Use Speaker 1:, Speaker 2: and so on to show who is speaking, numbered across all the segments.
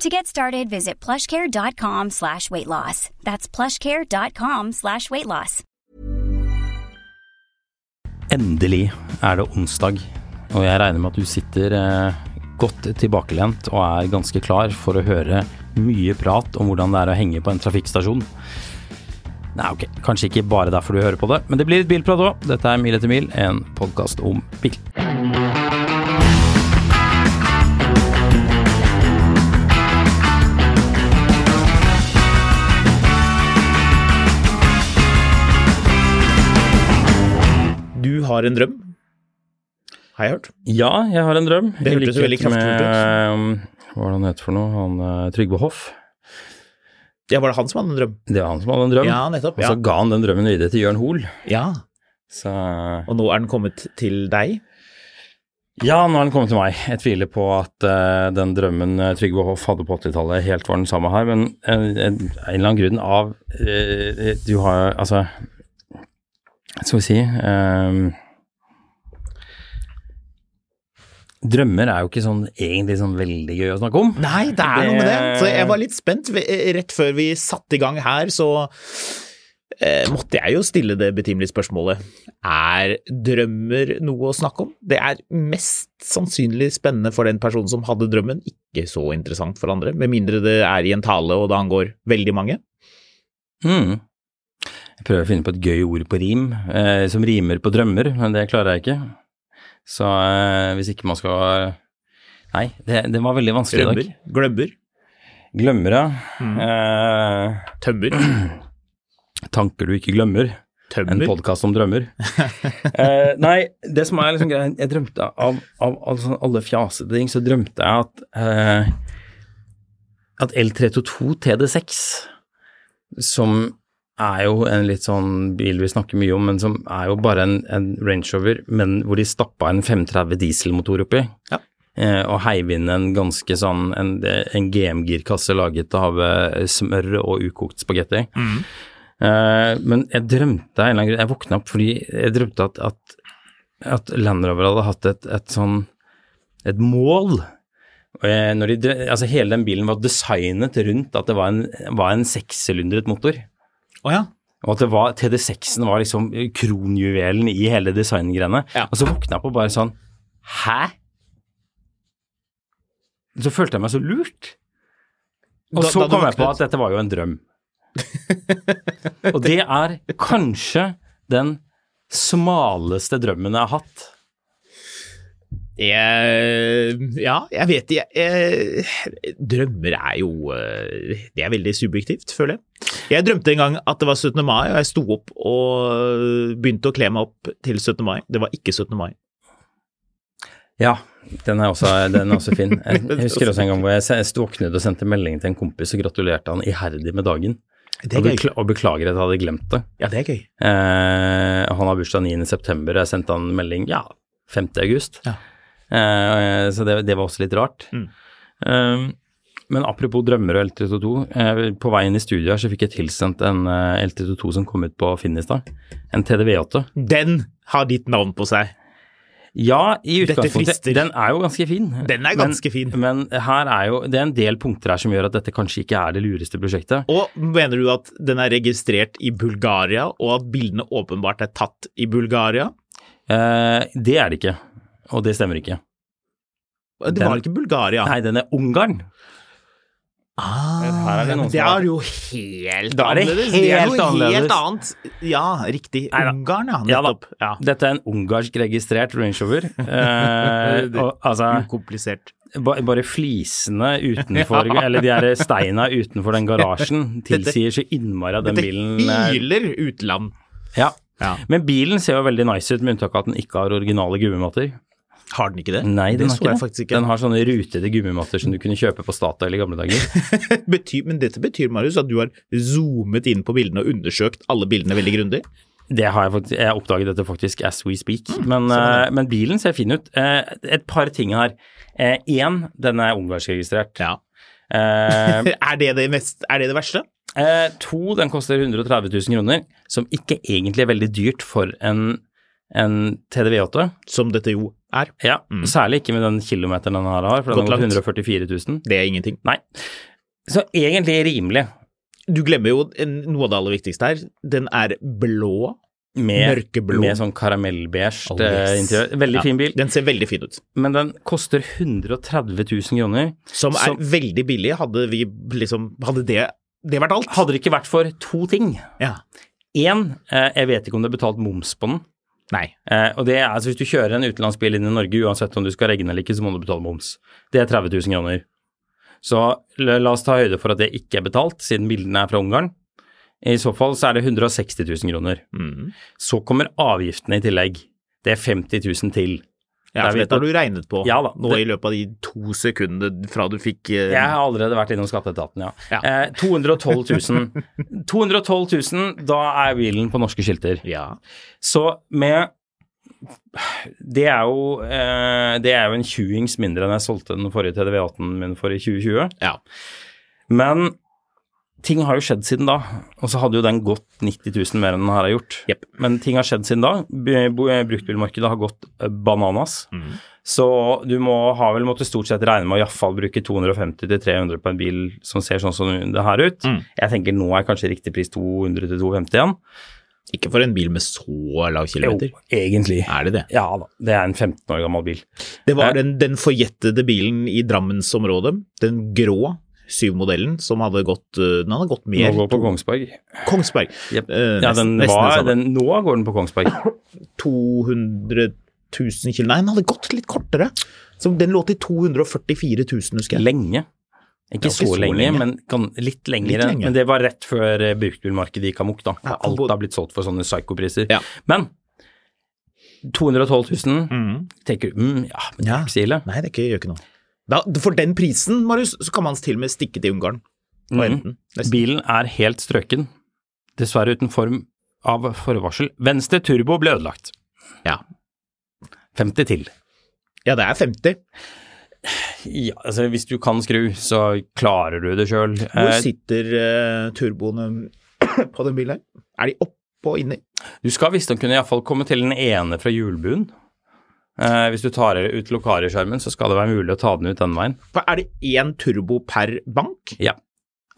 Speaker 1: To get started, visit plushcare.com slash weight loss. That's plushcare.com slash weight loss.
Speaker 2: Endelig er det onsdag, og jeg regner med at du sitter eh, godt tilbakelent og er ganske klar for å høre mye prat om hvordan det er å henge på en trafikkstasjon. Nei, ok, kanskje ikke bare derfor du hører på det, men det blir litt bilprat òg. Dette er Mil etter mil, en podkast om bil.
Speaker 3: Du har en drøm, har jeg hørt.
Speaker 2: Ja, jeg har en drøm.
Speaker 3: Det
Speaker 2: I
Speaker 3: hørtes jo veldig
Speaker 2: likhet med,
Speaker 3: kraftfullt
Speaker 2: eh, Hva var det han het for noe? Han eh, Trygve Hoff.
Speaker 3: Ja, var det han som hadde en drøm?
Speaker 2: Det var han som hadde en drøm.
Speaker 3: Ja, nettopp.
Speaker 2: Og
Speaker 3: Ja.
Speaker 2: så ga han den drømmen videre til Jørn Hoel.
Speaker 3: ja.
Speaker 2: Så eh,
Speaker 3: Og nå er den kommet til deg.
Speaker 2: ja, nå har den kommet til meg. Jeg tviler på at eh, den drømmen eh, Trygve Hoff hadde på 80-tallet, helt var den samme her, men eh, en, en eller annen grunn av eh, Du har altså Skal vi si eh, Drømmer er jo ikke sånn egentlig sånn veldig gøy å snakke om.
Speaker 3: Nei, det er noe med det.
Speaker 2: Det-
Speaker 3: Så jeg var litt spent. Rett før vi satte i gang her, så eh, måtte jeg jo stille det betimelige spørsmålet. Er drømmer noe å snakke om? Det er mest sannsynlig spennende for den personen som hadde drømmen, ikke så interessant for andre. Med mindre det er i en tale og det angår veldig mange.
Speaker 2: Mm. Jeg prøver å finne på et gøy ord på rim, eh, som rimer på drømmer, men det klarer jeg ikke. Så eh, hvis ikke man skal Nei, det, det var veldig vanskelig i dag.
Speaker 3: Drømmer, glømmer,
Speaker 2: Glemmer, ja. Eh,
Speaker 3: tømmer,
Speaker 2: tanker du ikke glemmer. En
Speaker 3: tømmer.
Speaker 2: podkast om drømmer. eh, nei, det som er liksom greia Jeg drømte av, av, av sånn alle fjasete ting, så drømte jeg at eh, at L322 TD6, som er jo en litt sånn bil vi snakker mye om, men som er jo bare en, en Range Rover, men hvor de stappa en 530 dieselmotor oppi.
Speaker 3: Ja.
Speaker 2: Eh, og heiv inn en ganske sånn en, en GM-girkasse laget av eh, smør og ukokt spagetti. Eh, men jeg drømte av en eller annen grunn Jeg våkna opp fordi jeg drømte at, at, at Land Rover hadde hatt et, et sånn et mål. Og jeg, når de, drø- altså hele den bilen var designet rundt at det var en, var en sekssylindret motor.
Speaker 3: Å ja.
Speaker 2: Og at det var, TD6-en var liksom kronjuvelen i hele designgreiene.
Speaker 3: Ja.
Speaker 2: Og så våkna jeg på bare sånn Hæ? Så følte jeg meg så lurt. Og
Speaker 3: Da-
Speaker 2: så
Speaker 3: da du
Speaker 2: kom jeg på
Speaker 3: våknet.
Speaker 2: at dette var jo en drøm. Og det er kanskje den smaleste drømmen jeg har hatt.
Speaker 3: Jeg, ja, jeg vet jeg, jeg, eh, Drømmer er jo eh, Det er veldig subjektivt, føler jeg. Jeg drømte en gang at det var 17. mai, og jeg sto opp og begynte å kle meg opp til 17. mai. Det var ikke 17. mai.
Speaker 2: Ja, den er også, den er også fin. Jeg, jeg husker også en gang hvor jeg se- våknet og sendte melding til en kompis og gratulerte han iherdig med dagen.
Speaker 3: Det
Speaker 2: Og,
Speaker 3: er gøy.
Speaker 2: bekla og beklager at jeg hadde glemt det.
Speaker 3: Ja, det er gøy.
Speaker 2: Eh, han har bursdag 9. september, jeg sendte han en melding ja, 5. august.
Speaker 3: Ja.
Speaker 2: Eh, så det, det var også litt rart.
Speaker 3: Mm.
Speaker 2: Eh, men apropos drømmer og LT22, eh, på veien i studio her så fikk jeg tilsendt en eh, LT22 som kom ut på Finn i stad. En TDV8.
Speaker 3: Den har ditt navn på seg.
Speaker 2: Ja, i
Speaker 3: Dette
Speaker 2: utgangspunktet.
Speaker 3: frister.
Speaker 2: Den er jo ganske fin.
Speaker 3: Den er ganske
Speaker 2: men,
Speaker 3: fin.
Speaker 2: Men her er jo, det er en del punkter her som gjør at dette kanskje ikke er det lureste prosjektet.
Speaker 3: Og mener du at den er registrert i Bulgaria, og at bildene åpenbart er tatt i Bulgaria?
Speaker 2: Eh, det er det ikke, og det stemmer ikke.
Speaker 3: Det
Speaker 2: Den-
Speaker 3: var ikke Bulgaria.
Speaker 2: Nei, den er Ungarn. Her er det
Speaker 3: ja, men
Speaker 2: noen
Speaker 3: det
Speaker 2: som har-
Speaker 3: er jo
Speaker 2: Ah.
Speaker 3: helt
Speaker 2: Da er det
Speaker 3: annerledes.
Speaker 2: helt
Speaker 3: det er noe
Speaker 2: annerledes.
Speaker 3: helt annet. Ja, riktig.
Speaker 2: Neida.
Speaker 3: Ungarn, ja.
Speaker 2: Ja da.
Speaker 3: Nettopp. Ja,
Speaker 2: Dette er en ungarsk-registrert Range Rover. Eh, og, altså,
Speaker 3: Ukomplisert.
Speaker 2: ba- bare flisene utenfor, eller de her steina utenfor den garasjen, tilsier så innmari at den
Speaker 3: Dette
Speaker 2: bilen eh,
Speaker 3: hyler utland.
Speaker 2: ja.
Speaker 3: Ja.
Speaker 2: Men bilen ser jo veldig nice ut, med unntak av at den ikke har originale gummimatter.
Speaker 3: Har den ikke det?
Speaker 2: Nei, den
Speaker 3: det
Speaker 2: har
Speaker 3: så
Speaker 2: ikke
Speaker 3: jeg
Speaker 2: det.
Speaker 3: faktisk ikke.
Speaker 2: Den har sånne rutede gummimatter som du kunne kjøpe på Statoil i gamle dager.
Speaker 3: Betyr, men dette betyr, Marius, at du har zoomet inn på bildene og undersøkt alle bildene veldig grundig?
Speaker 2: Det har jeg faktisk, jeg oppdaget dette faktisk as we speak,
Speaker 3: Mm,
Speaker 2: men, eh, men bilen ser fin ut. Eh, et par ting her. Én, den er ungarskregistrert.
Speaker 3: Ja.
Speaker 2: Eh,
Speaker 3: Er det det, mest, er det, det verste?
Speaker 2: Eh, to, den koster 130 000 kroner, som ikke egentlig er veldig dyrt for en, en TDV8.
Speaker 3: Som dette jo er.
Speaker 2: Ja, Særlig ikke med den kilometeren den her har, for
Speaker 3: Mm. Gått
Speaker 2: den har
Speaker 3: langt.
Speaker 2: gått 144 000.
Speaker 3: Det er ingenting.
Speaker 2: Nei. Så egentlig rimelig.
Speaker 3: Du glemmer jo en, noe av det aller viktigste her. Den er blå.
Speaker 2: Med,
Speaker 3: Mørkeblå.
Speaker 2: med sånn karamellbeige
Speaker 3: Oh,
Speaker 2: eh,
Speaker 3: yes.
Speaker 2: interiør. Veldig
Speaker 3: Ja,
Speaker 2: fin bil,
Speaker 3: Den ser veldig fin ut.
Speaker 2: men den koster 130 000 kroner.
Speaker 3: Som er
Speaker 2: Som-
Speaker 3: veldig billig. Hadde vi liksom Hadde det, det vært alt?
Speaker 2: Hadde det ikke vært for to ting.
Speaker 3: Ja.
Speaker 2: Én, eh, jeg vet ikke om det er betalt moms på den.
Speaker 3: Nei.
Speaker 2: Eh, og det er, altså Hvis du kjører en utenlandsbil inn i Norge, uansett om du skal regne eller ikke, så må du betale moms. Det er 30 000 kroner. Så la la oss ta høyde for at det ikke er betalt, siden bildene er fra Ungarn. I så fall så er det 160 000 kroner.
Speaker 3: Mm.
Speaker 2: Så kommer avgiftene i tillegg. Det er 50 000 til. Der
Speaker 3: Ja, for
Speaker 2: vi-
Speaker 3: dette har du regnet på
Speaker 2: Ja da,
Speaker 3: nå
Speaker 2: det-
Speaker 3: i løpet av de to sekundene fra du fikk eh,
Speaker 2: Jeg har allerede vært innom skatteetaten, ja.
Speaker 3: Ja.
Speaker 2: Eh, 212 000. 212 000, da er bilen på norske skilter.
Speaker 3: ja.
Speaker 2: Så med Det er jo, eh, det er jo en tjuings mindre enn jeg solgte den forrige TDV18 min for i 2020.
Speaker 3: ja.
Speaker 2: Men ting har jo skjedd siden da, og så hadde jo den gått 90 000 mer enn den her har gjort.
Speaker 3: Jepp.
Speaker 2: Men ting har skjedd siden da. B- bo- eh, Bruktbilmarkedet har gått eh, bananas. Så du må ha vel måttet stort sett regne med å iallfall bruke 250-300 på en bil som ser sånn som det her ut. Jeg tenker nå er kanskje riktig pris 200-250 igjen.
Speaker 3: Ikke for en bil med så lav kilometer.
Speaker 2: egentlig.
Speaker 3: Er det det?
Speaker 2: Ja da, det er en 15 år gammel bil.
Speaker 3: Det var
Speaker 2: Eh.
Speaker 3: den, den forjettede bilen i Drammensområdet, den grå syvmodellen, som hadde gått eh, Den hadde gått mer
Speaker 2: Nå går på Kongsberg.
Speaker 3: Kongsberg.
Speaker 2: Jep.
Speaker 3: Eh,
Speaker 2: ja, den
Speaker 3: nesten- nesten det
Speaker 2: var,
Speaker 3: samme.
Speaker 2: den, nå går den på Kongsberg.
Speaker 3: 200 000 kilo Nei, den hadde gått litt kortere. Så den lå til 244 000, husker jeg.
Speaker 2: Lenge. Ikke
Speaker 3: Det var
Speaker 2: så, lenge, men kan, litt lenger.
Speaker 3: Litt lenge.
Speaker 2: Men det var rett før eh, bruktbilmarkedet gikk amok, da.
Speaker 3: Ja,
Speaker 2: Og Alt
Speaker 3: både-
Speaker 2: har blitt solgt for sånne psykopriser.
Speaker 3: Ja.
Speaker 2: Men 212 000,
Speaker 3: Mhm.
Speaker 2: tenker du mm, ja, men det
Speaker 3: Ja.
Speaker 2: er ikke så ille.
Speaker 3: Nei, det er ikke, gjør ikke noe. Da, for den prisen, Marius, så kan man til og med stikke til Ungarn og
Speaker 2: Mhm.
Speaker 3: hente den. Nesten.
Speaker 2: Bilen er helt strøken. Dessverre uten form av forvarsel. Venstre turbo ble ødelagt.
Speaker 3: Ja.
Speaker 2: 50 til.
Speaker 3: Ja, det er 50.
Speaker 2: Ja, altså hvis du kan skru, så klarer du det sjøl.
Speaker 3: Hvor sitter eh, turboene på den bilen? her? Er de oppå og inni?
Speaker 2: Du skal visstnok kunne iallfall komme til den ene fra hjulbuen. Eh, hvis du tar ut lokarierskjermen, så skal det være mulig å ta den ut den veien.
Speaker 3: For Er det én turbo per bank?
Speaker 2: Ja.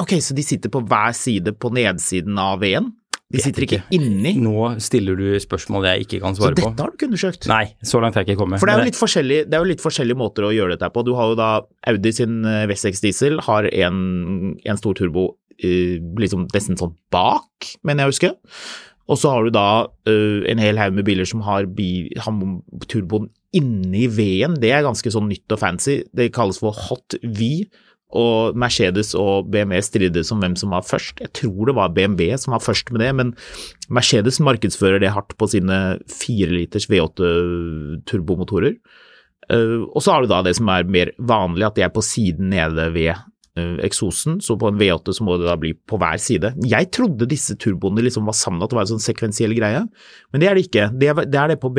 Speaker 3: Ok, så de sitter på hver side på nedsiden av V-en? De
Speaker 2: Vet
Speaker 3: sitter ikke inni?
Speaker 2: Nå stiller du spørsmål jeg ikke kan
Speaker 3: Så
Speaker 2: svare på.
Speaker 3: dette har du ikke undersøkt?
Speaker 2: Nei, så langt har jeg ikke kommet.
Speaker 3: For det er,
Speaker 2: Men
Speaker 3: jo litt forskjellig, det er jo litt forskjellige måter å gjøre dette på. Du har jo da Audi sin eh, V6 diesel har en, en stor turbo eh, liksom nesten sånn bak, mener jeg å huske. Og så har du da eh, en hel haug med biler som har, bi, har turboen inni V-en. Det er ganske sånn nytt og fancy. Det kalles for hot V. Og Mercedes og BMW strides om hvem som var først. Jeg tror det var BMW som var først med det, men Mercedes markedsfører det hardt på sine 4-liters V8 turbomotorer. Eh, og så har du da det som er mer vanlig, at de er på siden nede ved eh, eksosen. Så på en V8 så må det da bli på hver side. Jeg trodde disse turboene liksom var sammen, at det var en sånn sekvensiell greie, men det er det ikke. Det er det, er det på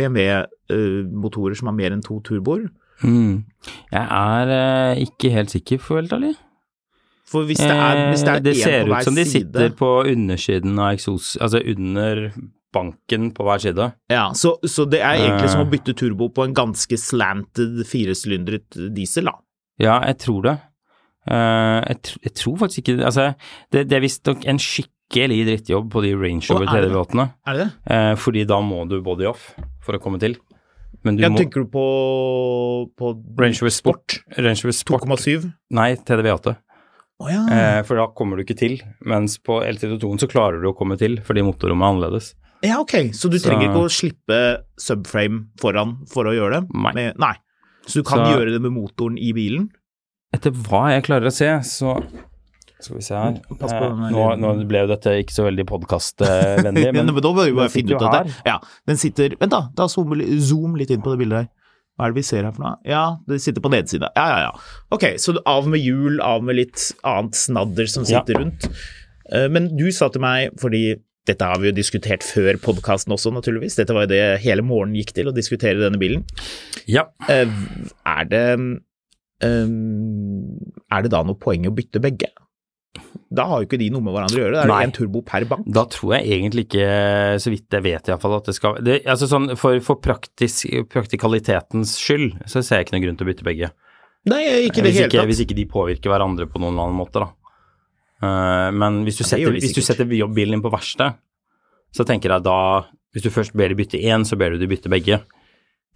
Speaker 3: BMW-motorer eh, som har mer enn to turboer.
Speaker 2: Mm. Jeg er eh, ikke helt sikker, for å være helt ærlig.
Speaker 3: For hvis det er, hvis det
Speaker 2: Eh,
Speaker 3: er
Speaker 2: det
Speaker 3: en
Speaker 2: ser
Speaker 3: på hver
Speaker 2: ut som de
Speaker 3: side
Speaker 2: sitter på undersiden av eksos... Altså under banken på hver side.
Speaker 3: Ja, så, så det er egentlig som å
Speaker 2: Eh.
Speaker 3: bytte turbo på en ganske slanted firesylindret diesel, da.
Speaker 2: Ja, jeg tror det. Eh, jeg, tr jeg tror faktisk ikke det. Altså, det, det er visstnok en skikkelig drittjobb på de Range Rover
Speaker 3: Å, er det det?
Speaker 2: TV-båtene.
Speaker 3: Er det det?
Speaker 2: Eh, fordi da må du body off for å komme til. Men du
Speaker 3: ja,
Speaker 2: må
Speaker 3: tenker du på, på
Speaker 2: Range Rover Sport. Range Rover Sport
Speaker 3: 2,7?
Speaker 2: Nei, TDV8.
Speaker 3: Å ja.
Speaker 2: Eh, for da kommer du ikke til. Mens på LTD2-en så klarer du å komme til, fordi motorrommet er annerledes.
Speaker 3: ja, ok. Så du
Speaker 2: Så-
Speaker 3: trenger ikke å slippe subframe foran for å gjøre det?
Speaker 2: Nei.
Speaker 3: Med, nei. Så du kan
Speaker 2: Så-
Speaker 3: gjøre det med motoren i bilen?
Speaker 2: Etter hva jeg klarer å se, så Skal vi se her.
Speaker 3: Mm, Pass på
Speaker 2: Eh,
Speaker 3: den her
Speaker 2: nå, nå
Speaker 3: lyden.
Speaker 2: ble jo dette ikke så veldig podkastvennlig,
Speaker 3: Men,
Speaker 2: men
Speaker 3: da bør vi
Speaker 2: den
Speaker 3: bare finne
Speaker 2: sitter
Speaker 3: ut
Speaker 2: jo
Speaker 3: av det. Ja, den sitter Vent, da. da zoom, zoom litt inn på det bildet her. Hva er det vi ser her for noe? Ja, det sitter på nedsida. Ja, ja, ja. Ok, så du- av med hjul, av med litt annet snadder som
Speaker 2: Ja.
Speaker 3: sitter rundt. Eh, Men du sa til meg, fordi dette har vi jo diskutert før podkasten også, naturligvis. Dette var jo det hele morgenen gikk til, å diskutere denne bilen.
Speaker 2: ja.
Speaker 3: Eh, Er det eh, Er det da noe poeng i å bytte begge? Da har jo ikke de noe med hverandre å gjøre. Da er
Speaker 2: Nei.
Speaker 3: det én turbo per bank.
Speaker 2: Da tror jeg egentlig ikke, så vidt jeg vet iallfall, at det skal det, altså sånn, For, for praktisk, praktikalitetens skyld så ser jeg ikke noen grunn til å bytte begge.
Speaker 3: Nei, ikke i det
Speaker 2: Hvis
Speaker 3: hele
Speaker 2: ikke,
Speaker 3: tatt.
Speaker 2: hvis ikke de påvirker hverandre på noen annen måte, da. Eh, men hvis du,
Speaker 3: Ja, det
Speaker 2: setter,
Speaker 3: gjør de
Speaker 2: hvis du
Speaker 3: sikkert.
Speaker 2: setter bilen din på verksted, så tenker jeg da Hvis du først ber de bytte én, så ber du de bytte begge.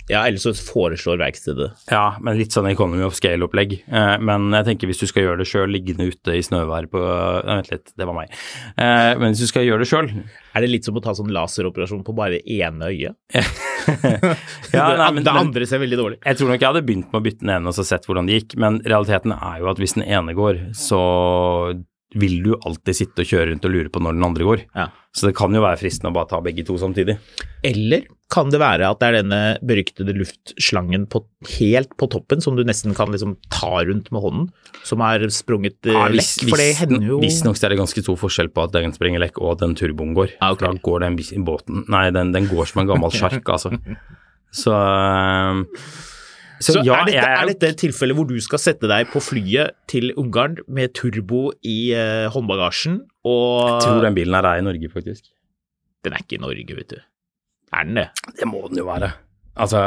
Speaker 3: Ja, eller så foreslår verkstedet.
Speaker 2: Ja, men litt sånn economy of scale-opplegg. Eh, men jeg tenker hvis du skal gjøre det sjøl, liggende ute i snøvær på Nei, Vent litt, det var meg. Eh, men hvis du skal gjøre det sjøl
Speaker 3: Er det litt som å ta sånn laseroperasjon på bare det ene øyet?
Speaker 2: Ja, nei, men-
Speaker 3: det
Speaker 2: men-
Speaker 3: andre ser veldig dårlig.
Speaker 2: Jeg tror nok jeg hadde begynt med å bytte den ene og så sett hvordan det gikk, men realiteten er jo at hvis den ene går, så vil du alltid sitte og kjøre rundt og lure på når den andre går.
Speaker 3: Ja.
Speaker 2: Så det kan jo være fristende å bare ta begge to samtidig.
Speaker 3: Eller kan det være at det er denne beryktede luftslangen på, helt på toppen, som du nesten kan liksom ta rundt med hånden, som er sprunget eh, lekk? For det hender jo
Speaker 2: Visstnok så er det ganske stor forskjell på at den sprenger lekk og at den turboen går.
Speaker 3: Ja, Ah, ok.
Speaker 2: For Da går den bis- båten Nei, den, den går som en gammel sjark, altså. Så, øhm,
Speaker 3: Så
Speaker 2: ja,
Speaker 3: er, dette,
Speaker 2: jeg
Speaker 3: er
Speaker 2: jo-
Speaker 3: dette et tilfelle hvor du skal sette deg på flyet til Ungarn med turbo i eh, håndbagasjen, og
Speaker 2: tror den bilen her er i Norge, faktisk.
Speaker 3: den er ikke i Norge, vet du. Er den det?
Speaker 2: Det må den jo være. Altså,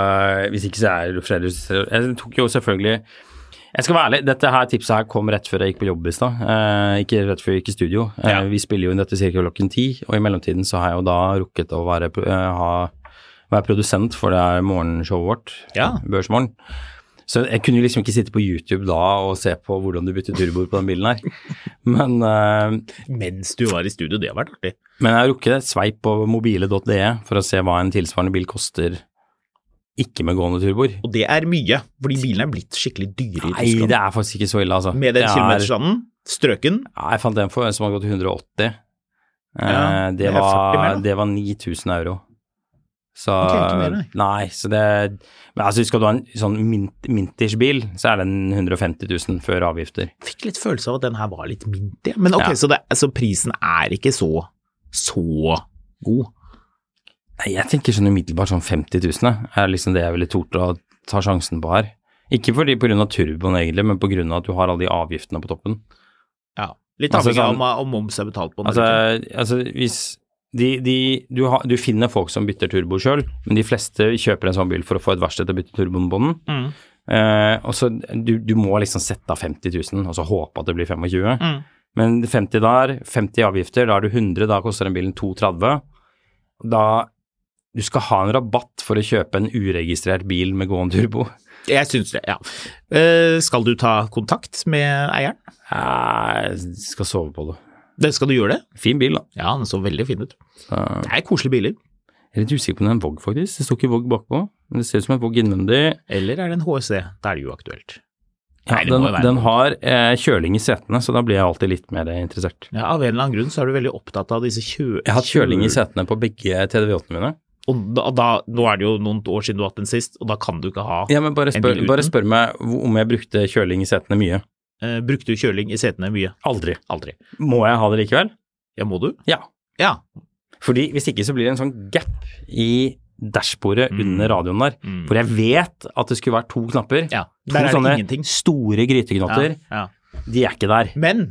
Speaker 2: hvis ikke så er det Fredriks Jeg tok jo selvfølgelig Jeg skal være ærlig, dette her tipset her kom rett før jeg gikk på jobb i stad. Eh, ikke rett før jeg gikk i studio. Eh,
Speaker 3: Ja.
Speaker 2: Vi spiller jo inn dette ca. klokken ti, og i mellomtiden så har jeg jo da rukket å være, pro- eh, ha, være produsent, for det er morgenshowet vårt,
Speaker 3: Ja.
Speaker 2: Børsmorgen. Så jeg kunne liksom ikke sitte på YouTube da og se på hvordan du bytter turboer på den bilen her. Men eh,
Speaker 3: Mens du var i studio, det har vært artig.
Speaker 2: men jeg har rukket et sveip på mobile.de for å se hva en tilsvarende bil koster ikke med gående turboer.
Speaker 3: Og det er mye, fordi bilene er blitt skikkelig dyre i
Speaker 2: Nei,
Speaker 3: Tyskland.
Speaker 2: det er faktisk ikke så ille, altså.
Speaker 3: Med
Speaker 2: Det
Speaker 3: den
Speaker 2: er-
Speaker 3: kilometerslanden, strøken,
Speaker 2: Ja, jeg fant en for en som har gått 180.
Speaker 3: Ja,
Speaker 2: eh, det,
Speaker 3: det er 40 mer,
Speaker 2: var,
Speaker 3: da.
Speaker 2: det var 9000 euro. Så
Speaker 3: Ok, ikke mer, nei.
Speaker 2: Nei, så det Men altså, skal du ha en sånn mint, mintersbil, så er den 150 000 før avgifter.
Speaker 3: fikk litt følelse av at den her var litt mintig. Men ok,
Speaker 2: Ja.
Speaker 3: så, det, så prisen er ikke så, så god.
Speaker 2: Nei, jeg tenker sånn umiddelbart sånn 50 000 jeg, er liksom det jeg ville tort å ta sjansen på her. Ikke fordi på grunn av turboen egentlig, men på grunn av at du har alle de avgiftene på toppen.
Speaker 3: Ja. Litt
Speaker 2: Altså,
Speaker 3: avhengig av
Speaker 2: sånn-
Speaker 3: om, om moms er betalt på den.
Speaker 2: Altså,
Speaker 3: eller ikke.
Speaker 2: altså hvis de, de, du, har, du finner folk som bytter turbo sjøl, men de fleste kjøper en sånn bil for å få et verksted til å bytte turboen på den.
Speaker 3: Mm.
Speaker 2: Eh, og så du, du må liksom sette av 50 000, og så håpe at det blir 25 000.
Speaker 3: Mm.
Speaker 2: Men 50 der, 50 i avgifter, da er du 100, da koster den bilen 230. Da du skal ha en rabatt for å kjøpe en uregistrert bil med gående turbo.
Speaker 3: Jeg syns det, ja. Eh, skal du ta kontakt med eieren?
Speaker 2: Jeg Eh, skal sove på det.
Speaker 3: Det skal du gjøre det?
Speaker 2: Fin bil, da.
Speaker 3: Ja, den så veldig fin ut.
Speaker 2: Så,
Speaker 3: Det er koselige biler.
Speaker 2: jeg er litt usikker på om det er en Vog, faktisk. Det står ikke Vog bakpå, men det ser ut som en Vog innvendig.
Speaker 3: Eller er det en HSD? Da er det jo aktuelt.
Speaker 2: Ja,
Speaker 3: Nei, det må
Speaker 2: den,
Speaker 3: jo være
Speaker 2: den
Speaker 3: en
Speaker 2: har eh, kjøling i setene, så da blir jeg alltid litt mer interessert.
Speaker 3: Ja, av en eller annen grunn så er du veldig opptatt av disse kjø...
Speaker 2: Jeg har hatt kjøling i setene på begge TDV8-ene mine.
Speaker 3: Og da, da, nå er det jo noen år siden du har hatt den sist, og da kan du ikke ha
Speaker 2: Ja, men bare
Speaker 3: En
Speaker 2: spør,
Speaker 3: bil uten?
Speaker 2: bare spør meg hvor- om jeg brukte kjøling i setene mye.
Speaker 3: Eh, brukte du kjøling i setene mye?
Speaker 2: Aldri.
Speaker 3: Aldri.
Speaker 2: Må jeg ha det likevel?
Speaker 3: Ja, må du?
Speaker 2: Ja.
Speaker 3: Ja.
Speaker 2: Fordi hvis ikke så blir det en sånn gap i dashbordet
Speaker 3: Mm.
Speaker 2: under radioen der, hvor jeg vet at det skulle vært to knapper.
Speaker 3: Ja,
Speaker 2: To
Speaker 3: der er det
Speaker 2: sånne
Speaker 3: ingenting.
Speaker 2: store gryteknotter.
Speaker 3: ja.
Speaker 2: De er ikke der.
Speaker 3: Men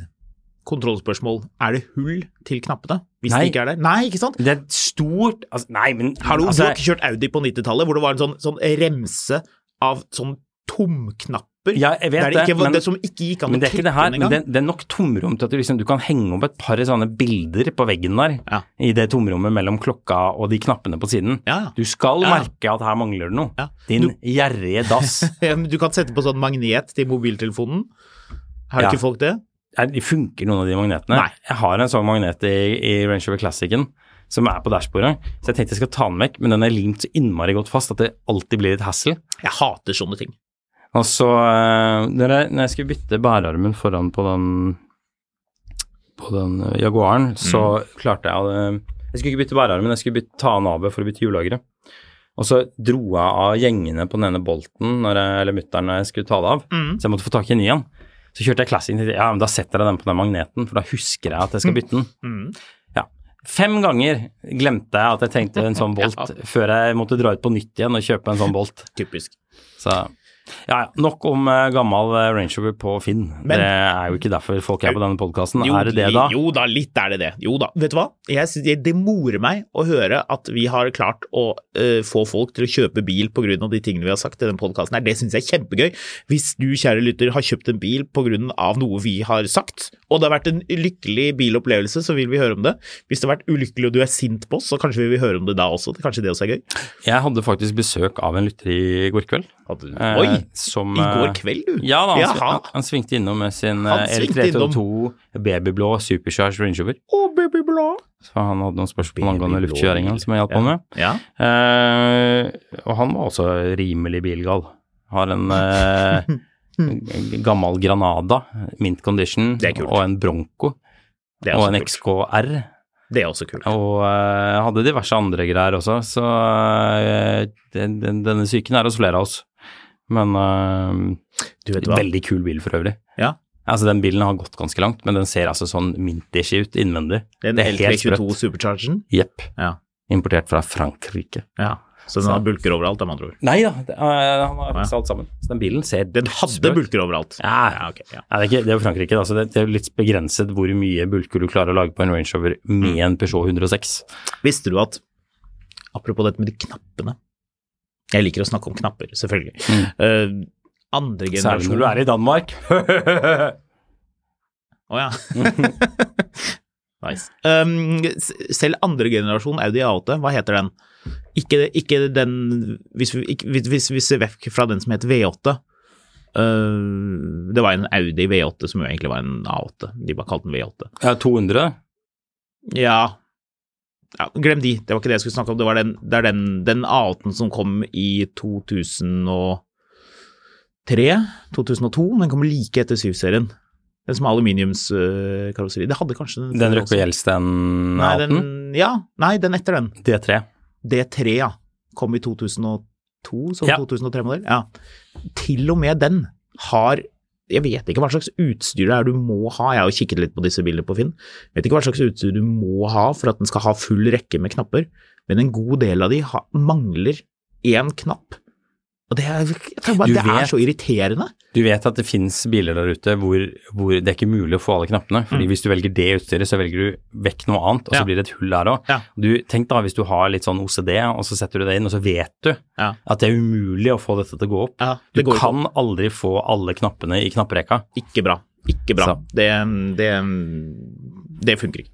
Speaker 3: kontrollspørsmål, er det hull til knappene? Hvis
Speaker 2: Nei.
Speaker 3: det ikke er det? Nei, ikke sant?
Speaker 2: Det er et stort altså, Nei, men
Speaker 3: Har du, du
Speaker 2: altså,
Speaker 3: har ikke kjørt Audi på 90-tallet, hvor det var en sånn, sånn remse av sånn tomknapper?
Speaker 2: Ja, jeg vet
Speaker 3: der det,
Speaker 2: det,
Speaker 3: ikke, var-
Speaker 2: men-
Speaker 3: det som ikke gikk an
Speaker 2: Men
Speaker 3: å
Speaker 2: det er ikke det
Speaker 3: trykke
Speaker 2: her.
Speaker 3: den
Speaker 2: Men det,
Speaker 3: engang?
Speaker 2: det er nok tomrom til at du, liksom, du kan henge opp et par sånne bilder på veggen der.
Speaker 3: Ja.
Speaker 2: I det tomrommet mellom klokka og de knappene på siden.
Speaker 3: Ja, ja.
Speaker 2: Du skal
Speaker 3: Ja.
Speaker 2: merke at her mangler det noe.
Speaker 3: Ja.
Speaker 2: Din
Speaker 3: Du-
Speaker 2: gjerrige dass.
Speaker 3: Ja, men Du kan sette på sånn magnet til mobiltelefonen. Har
Speaker 2: Ja.
Speaker 3: ikke folk det?
Speaker 2: er, funker noen av de magnetene.
Speaker 3: Nei.
Speaker 2: Jeg har en sånn magnet i, i Range Rover Classicen som er på dashbordet, så jeg tenkte jeg skal ta den vekk, men den er limt så innmari godt fast at det alltid blir et hassle.
Speaker 3: Jeg hater sånne ting.
Speaker 2: Og så, eh, når jeg, når jeg skulle bytte bærearmen foran på den, på den eh, Jaguaren, så klarte jeg å eh, Jeg skulle ikke bytte bærearmen, jeg skulle bytte, ta av navet for å bytte hjullageret. Og så dro jeg av gjengene på den ene bolten, når jeg, eller mutter'n, når jeg skulle ta det av. Så jeg måtte få tak i en ny en. Så kjørte jeg classic til ja, men da setter jeg den på den magneten, for da husker jeg at jeg skal bytte den. Ja. Fem ganger glemte jeg at jeg trengte en sånn bolt, før jeg måtte dra ut på nytt igjen og kjøpe en sånn bolt.
Speaker 3: Typisk.
Speaker 2: Så ja, ja. Nok om eh, gammel eh, Range Rover på Finn.
Speaker 3: Men-
Speaker 2: det er jo ikke derfor folk er på denne podkasten.
Speaker 3: Jo,
Speaker 2: Er det det, da?
Speaker 3: Jo da, litt er det det. Jo da. Vet du hva? Jeg synes, det morer meg å høre at vi har klart å eh, få folk til å kjøpe bil pga. de tingene vi har sagt i den podkasten her. Det syns jeg er kjempegøy. Hvis du, kjære lytter, har kjøpt en bil pga. noe vi har sagt, og det har vært en lykkelig bilopplevelse, så vil vi høre om det. Hvis det har vært ulykkelig og du er sint på oss, så kanskje vi vil høre om det da også. Kanskje det også er gøy.
Speaker 2: Jeg hadde faktisk besøk av en lytter i går kveld.
Speaker 3: Hadde du-
Speaker 2: eh,
Speaker 3: Oi!
Speaker 2: som,
Speaker 3: I går
Speaker 2: eh,
Speaker 3: kveld, du?
Speaker 2: Ja da, han,
Speaker 3: Jaha.
Speaker 2: han, han svingte innom med sin eh,
Speaker 3: Han svingte
Speaker 2: L322 babyblå supercharge Range Rover.
Speaker 3: Å, babyblå!
Speaker 2: Så han hadde noen spørsmål angående
Speaker 3: Babyblå
Speaker 2: luftkjøringa
Speaker 3: bil.
Speaker 2: som jeg hjalp
Speaker 3: Ja.
Speaker 2: ham med.
Speaker 3: Ja.
Speaker 2: Eh, og han var også rimelig bilgal. Har en eh, g- gammel Granada, mint condition,
Speaker 3: Det er kult.
Speaker 2: og en Bronco,
Speaker 3: Det er
Speaker 2: og
Speaker 3: også
Speaker 2: en
Speaker 3: kult.
Speaker 2: XKR.
Speaker 3: Det er også kult.
Speaker 2: Og eh, hadde diverse andre greier også, så eh, den, den, denne psyken er hos flere av oss. Men eh,
Speaker 3: Du vet hva?
Speaker 2: veldig kul bil for øvrig.
Speaker 3: Ja.
Speaker 2: Altså Den bilen har gått ganske langt, men den ser altså sånn mintish ut innvendig.
Speaker 3: Den
Speaker 2: Det er helt
Speaker 3: L322
Speaker 2: sprøtt.
Speaker 3: Superchargen.
Speaker 2: Jepp.
Speaker 3: Ja.
Speaker 2: Importert fra Frankrike.
Speaker 3: Ja, så den har bulker overalt, med andre ord.
Speaker 2: Nei da, det, eh, han har fiksa alt sammen. Så den bilen ser
Speaker 3: Den hadde
Speaker 2: sprøt.
Speaker 3: bulker overalt.
Speaker 2: Ja,
Speaker 3: Ja, ok, ja.
Speaker 2: Nei, det, er ikke, det er jo Frankrike, da, så det, det er jo litt begrenset hvor mye bulker du klarer å lage på en Range Rover med en Peugeot 106.
Speaker 3: Visste du at Apropos dette med de knappene. Jeg liker å snakke om knapper, selvfølgelig. Eh, andre
Speaker 2: Mm. Særlig
Speaker 3: generasjon
Speaker 2: når du er i Danmark.
Speaker 3: Å ja. nice. Um, s- selv andre generasjon Audi A8, hva heter den? Ikke, ikke den hvis vi, ikke, hvis- hvis vi ser vekk fra den som het V8. Uh, det var en Audi V8 som jo egentlig var en A8. De bare kalte den V8.
Speaker 2: Ja, 200.
Speaker 3: Ja. ja Glem de, det var ikke det jeg skulle snakke om. Det, var den, det er den, den A8-en som kom i 2003? 2002? Den kom like etter 7-serien. Den som har aluminiumskarosseri. Det hadde kanskje
Speaker 2: Den
Speaker 3: før
Speaker 2: Røkke
Speaker 3: også.
Speaker 2: Gjelsten
Speaker 3: Nei,
Speaker 2: 18.
Speaker 3: den, ja, nei, den etter den.
Speaker 2: D3.
Speaker 3: D3, ja. Kom i 2002 som
Speaker 2: Ja.
Speaker 3: 2003-modell. Ja. Til og med den har Jeg vet ikke hva slags utstyr det er du må ha. Jeg har jo kikket litt på disse bildene på Finn. Vet ikke hva slags utstyr du må ha for at den skal ha full rekke med knapper, men en god del av de ha, mangler én knapp. Og det er, jeg tenker bare,
Speaker 2: Du
Speaker 3: det er
Speaker 2: vet-
Speaker 3: så irriterende.
Speaker 2: Du vet at det fins biler der ute hvor, hvor det er ikke mulig å få alle knappene. fordi hvis du velger det utstyret, så velger du vekk noe annet, og så
Speaker 3: Mm. Ja.
Speaker 2: blir det et hull der òg.
Speaker 3: Ja.
Speaker 2: Tenk da hvis du har litt sånn OCD, og så setter du det inn, og så vet du
Speaker 3: Ja.
Speaker 2: at det er umulig å få dette til å gå opp.
Speaker 3: Ja,
Speaker 2: du
Speaker 3: det går ikke
Speaker 2: kan aldri få alle knappene i knapperekka.
Speaker 3: Ikke bra. Ikke bra.
Speaker 2: Så.
Speaker 3: Det, det, det funker ikke.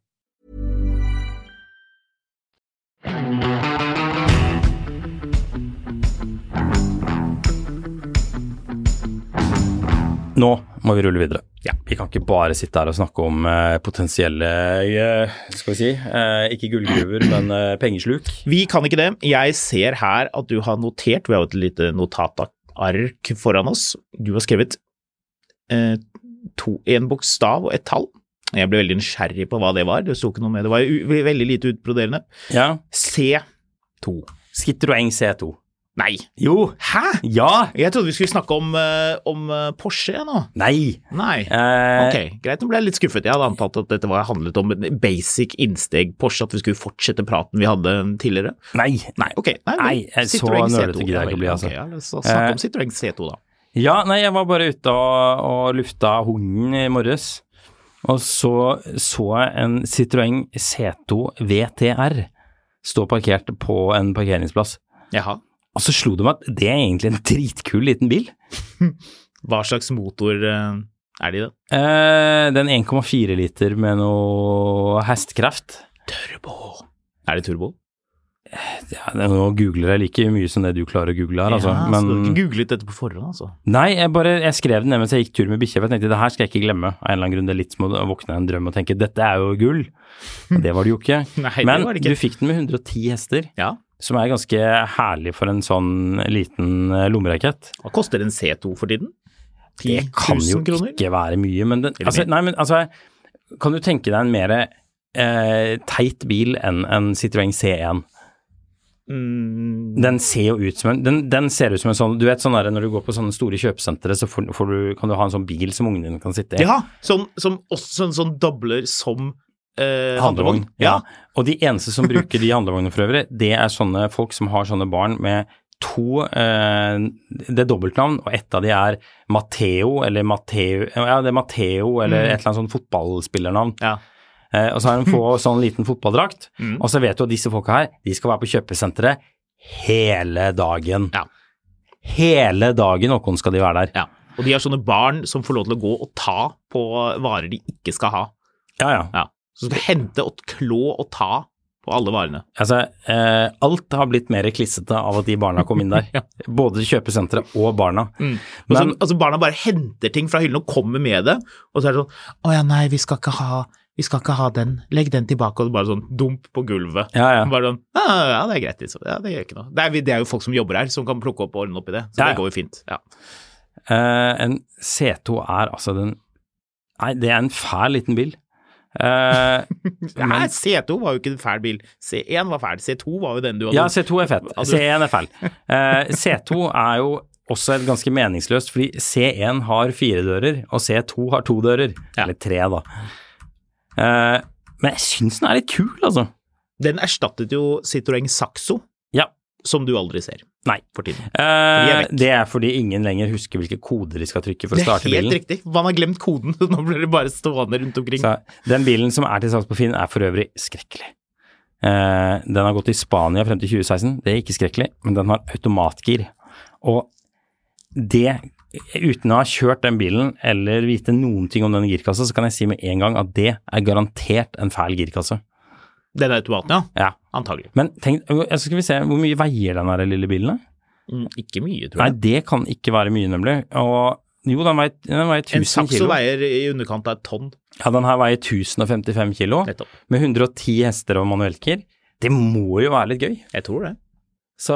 Speaker 2: Nå må vi rulle videre.
Speaker 3: Ja.
Speaker 2: Vi kan ikke bare sitte her og snakke om eh, potensielle eh, Skal vi si eh, ikke gullgruver, men eh, pengesluk.
Speaker 3: Vi kan ikke det. Jeg ser her at du har notert, vi har jo et lite notatark foran oss. Du har skrevet eh, to, en bokstav og et tall. Jeg ble veldig nysgjerrig på hva det var. Det sto ikke noe med. Det var jo u- veldig lite utbroderende.
Speaker 2: Ja.
Speaker 3: C2.
Speaker 2: Skittroeng C2.
Speaker 3: Nei.
Speaker 2: Jo!
Speaker 3: Hæ?
Speaker 2: Ja!
Speaker 3: Jeg trodde vi skulle snakke om, eh, om eh, Porsche jeg, nå.
Speaker 2: Nei!
Speaker 3: Nei.
Speaker 2: Eh,
Speaker 3: Ok, greit. Nå ble jeg litt skuffet. Jeg hadde antatt at dette var, handlet om en basic innsteg Porsche, at vi skulle fortsette praten vi hadde tidligere.
Speaker 2: Nei.
Speaker 3: Nei, ok. Nei,
Speaker 2: Nei,
Speaker 3: vel,
Speaker 2: jeg- så
Speaker 3: Citroën
Speaker 2: nølete
Speaker 3: C2,
Speaker 2: gidder jeg
Speaker 3: ja,
Speaker 2: ikke bli,
Speaker 3: vel,
Speaker 2: altså.
Speaker 3: ok, ja, la oss snakke
Speaker 2: Eh,
Speaker 3: om Citroën C2, da.
Speaker 2: Ja, nei, jeg var bare ute og, og lufta hunden i morges. Og så så jeg en Citroën C2 VTR stå parkert på en parkeringsplass.
Speaker 3: Jaha.
Speaker 2: Og så slo det meg at det er egentlig en dritkul liten bil.
Speaker 3: Hva slags motor eh, er det i den?
Speaker 2: Eh, den 1,4 liter med noe hestekraft.
Speaker 3: Turbo. Er det turbo?
Speaker 2: Ja, det- nå googler jeg like mye som det du klarer å google her, altså.
Speaker 3: ja, så du har
Speaker 2: Men
Speaker 3: ikke googlet dette på forhånd, altså?
Speaker 2: Nei, jeg bare jeg skrev den ned mens jeg gikk tur med bikkja, for jeg tenkte det her skal jeg ikke glemme. Av en eller annen grunn det er litt som å våkne av en drøm og tenke dette er jo gull. Men Det var det jo ikke.
Speaker 3: Nei, det
Speaker 2: Men
Speaker 3: var det ikke.
Speaker 2: du fikk den med 110 hester,
Speaker 3: Ja.
Speaker 2: som er ganske herlig for en sånn liten eh, lommerakett.
Speaker 3: Hva koster en C2 for tiden?
Speaker 2: Det
Speaker 3: 10
Speaker 2: kan jo
Speaker 3: 000 kroner?
Speaker 2: ikke være mye, men, den,
Speaker 3: Eller
Speaker 2: altså,
Speaker 3: mer.
Speaker 2: nei, men altså, kan du tenke deg en mer eh, teit bil enn en Citroën C1?
Speaker 3: Mm,
Speaker 2: Den ser jo ut som en Den, den ser ut som en sånn Du vet sånn der når du går på sånne store kjøpesentre, så får, får du, kan du ha en sånn bil som ungen din kan sitte i.
Speaker 3: ja, sånn, som også sånn, sånn dobler som eh,
Speaker 2: Handlevogn. Ja.
Speaker 3: Ja.
Speaker 2: Og de eneste som bruker de handlevognene for øvrig, det er sånne folk som har sånne barn med to eh, Det er dobbeltnavn, og ett av de er Matteo eller Matteo Ja, det er Matteo eller
Speaker 3: Mm.
Speaker 2: et eller annet sånn fotballspillernavn.
Speaker 3: ja.
Speaker 2: Eh, og så har de få sånn liten fotballdrakt,
Speaker 3: Mm.
Speaker 2: og så vet du at disse folka her, de skal være på kjøpesenteret hele dagen.
Speaker 3: Ja.
Speaker 2: Hele dagen, Håkon, skal de være der.
Speaker 3: Ja. Og de har sånne barn som får lov til å gå og ta på varer de ikke skal ha.
Speaker 2: Ja, ja.
Speaker 3: Ja. Som skal hente og klå og ta på alle varene.
Speaker 2: Altså, eh, alt har blitt mer klissete av at de barna kom inn der. Både kjøpesenteret og barna.
Speaker 3: Og så,
Speaker 2: Men
Speaker 3: altså barna bare henter ting fra hyllen og kommer med det, og så er det sånn Å ja, nei, vi skal ikke ha vi skal ikke ha den, legg den tilbake, og bare sånn dump på gulvet.
Speaker 2: Ja, ja.
Speaker 3: Bare sånn, ja, ja, ja, det er greit, liksom. Ja, det gjør ikke noe. Det er, vi- det er jo folk som jobber her, som kan plukke opp og ordne opp i det, så
Speaker 2: Ja,
Speaker 3: det
Speaker 2: ja.
Speaker 3: går jo fint. Ja.
Speaker 2: eh, en C2 er altså den Nei, det er en fæl liten bil. Eh,
Speaker 3: Nei, C2 var jo ikke en fæl bil. C1 var fæl, C2 var jo den du hadde
Speaker 2: ja, C2 er fett.
Speaker 3: Altså-
Speaker 2: C1 er fæl. Eh, C2 er jo også et ganske meningsløst, fordi C1 har fire dører, og C2 har to dører.
Speaker 3: Ja.
Speaker 2: Eller tre, da. Eh, men jeg syns den er litt kul, altså.
Speaker 3: Den erstattet jo Citroën Saxo,
Speaker 2: Ja.
Speaker 3: som du aldri ser
Speaker 2: Nei.
Speaker 3: for tiden.
Speaker 2: Eh,
Speaker 3: vekk.
Speaker 2: det er fordi ingen lenger husker hvilke koder de skal trykke for å
Speaker 3: Det er
Speaker 2: starte
Speaker 3: helt
Speaker 2: bilen.
Speaker 3: riktig. Man har glemt koden, så nå blir det bare stående rundt omkring.
Speaker 2: Så den bilen som er til salgs på Finn, er for øvrig skrekkelig. Eh, den har gått i Spania frem til 2016, det er ikke skrekkelig, men den har automatgir. Og det, uten å ha kjørt den bilen eller vite noen ting om den girkassa, så kan jeg si med en gang at det er garantert en fæl girkasse.
Speaker 3: Den automaten, ja.
Speaker 2: Ja.
Speaker 3: Antagelig.
Speaker 2: Men tenk, eh, så skal vi se, hvor mye veier den her lille bilen? da?
Speaker 3: Mm, ikke mye, tror
Speaker 2: Nei,
Speaker 3: jeg.
Speaker 2: det kan ikke være mye, nemlig. Og jo, den veier, den veier
Speaker 3: en
Speaker 2: 1000
Speaker 3: Saxo
Speaker 2: kilo.
Speaker 3: veier i underkant av et tonn,
Speaker 2: Ja, den her veier 1055 kilo.
Speaker 3: nettopp.
Speaker 2: med 110 hester og manuellkir. Det må jo være litt gøy.
Speaker 3: Jeg tror det.
Speaker 2: Så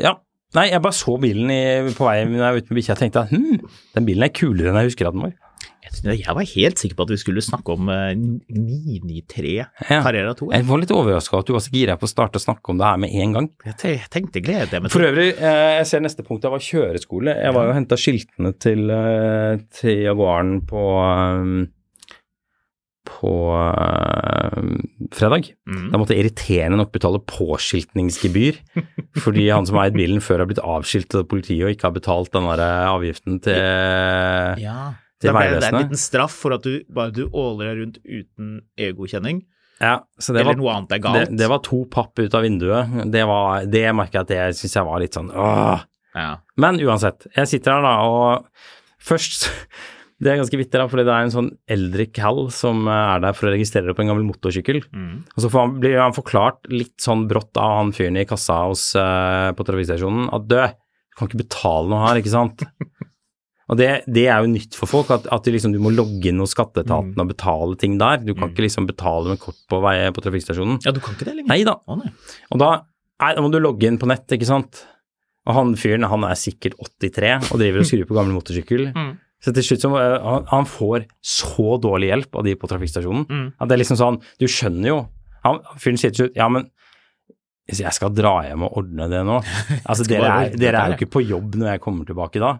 Speaker 2: ja. Nei, jeg bare så bilen i, på vei når jeg var ute med bikkja og tenkte at hm, den bilen er kulere enn jeg husker at den var.
Speaker 3: Jeg synes- Jeg var helt sikker på at vi skulle snakke om eh, 993
Speaker 2: Ja.
Speaker 3: Carrera 2. Jeg,
Speaker 2: Jeg var litt overraska at du var så gira på å starte å snakke om det her med en gang.
Speaker 3: jeg te- jeg tenkte glede meg
Speaker 2: For
Speaker 3: til.
Speaker 2: øvrig, eh, jeg ser neste punkt, det var kjøreskole. Jeg var jo og henta skiltene til, eh, til Jaguaren på eh, på eh, fredag.
Speaker 3: Mm.
Speaker 2: Da måtte jeg irriterende nok betale påskiltningsgebyr, fordi han som har eid bilen før har blitt avskiltet av politiet og ikke har betalt den der eh, avgiften til
Speaker 3: Ja.
Speaker 2: Til
Speaker 3: Da ble det en
Speaker 2: Vegvesenet.
Speaker 3: liten straff for at du bare du åler deg rundt uten EU-godkjenning,
Speaker 2: Ja, så det
Speaker 3: eller
Speaker 2: var,
Speaker 3: noe annet er
Speaker 2: det,
Speaker 3: galt.
Speaker 2: det var to papp ut av vinduet. Det, var, det merka jeg at jeg syns jeg var litt sånn åh.
Speaker 3: ja.
Speaker 2: Men uansett, jeg sitter her da, og først Det er ganske vittig, da, fordi det er en sånn eldre cal som eh, er der for å registrere på en gammel motorsykkel.
Speaker 3: Mm.
Speaker 2: Og så får han, blir han forklart litt sånn brått av han fyren i kassa hos, eh, på trafikkstasjonen at dø, du kan ikke betale noe her, ikke sant? Og det, det er jo nytt for folk, at, at du, liksom, du må logge inn hos skatteetaten og betale ting der. Du kan ikke liksom betale med kort på, vei, på trafikkstasjonen.
Speaker 3: ja, du kan ikke det lenger.
Speaker 2: Nei da,
Speaker 3: Å, nei.
Speaker 2: og da, nei, da må du logge inn på nett,
Speaker 3: Mm.
Speaker 2: ikke sant? Og han fyren, han er sikkert 83 og driver og skrur på gammel motorsykkel. Så til slutt så må, eh, han, han får så dårlig hjelp av de på trafikkstasjonen.
Speaker 3: Mm.
Speaker 2: At det er liksom sånn, du skjønner jo. Han, fyren sier til slutt, ja, men hvis jeg skal dra hjem og ordne det nå Altså, dere
Speaker 3: bare
Speaker 2: er, dere er
Speaker 3: ordne
Speaker 2: jo
Speaker 3: dette her,
Speaker 2: ikke på jobb når jeg kommer tilbake da.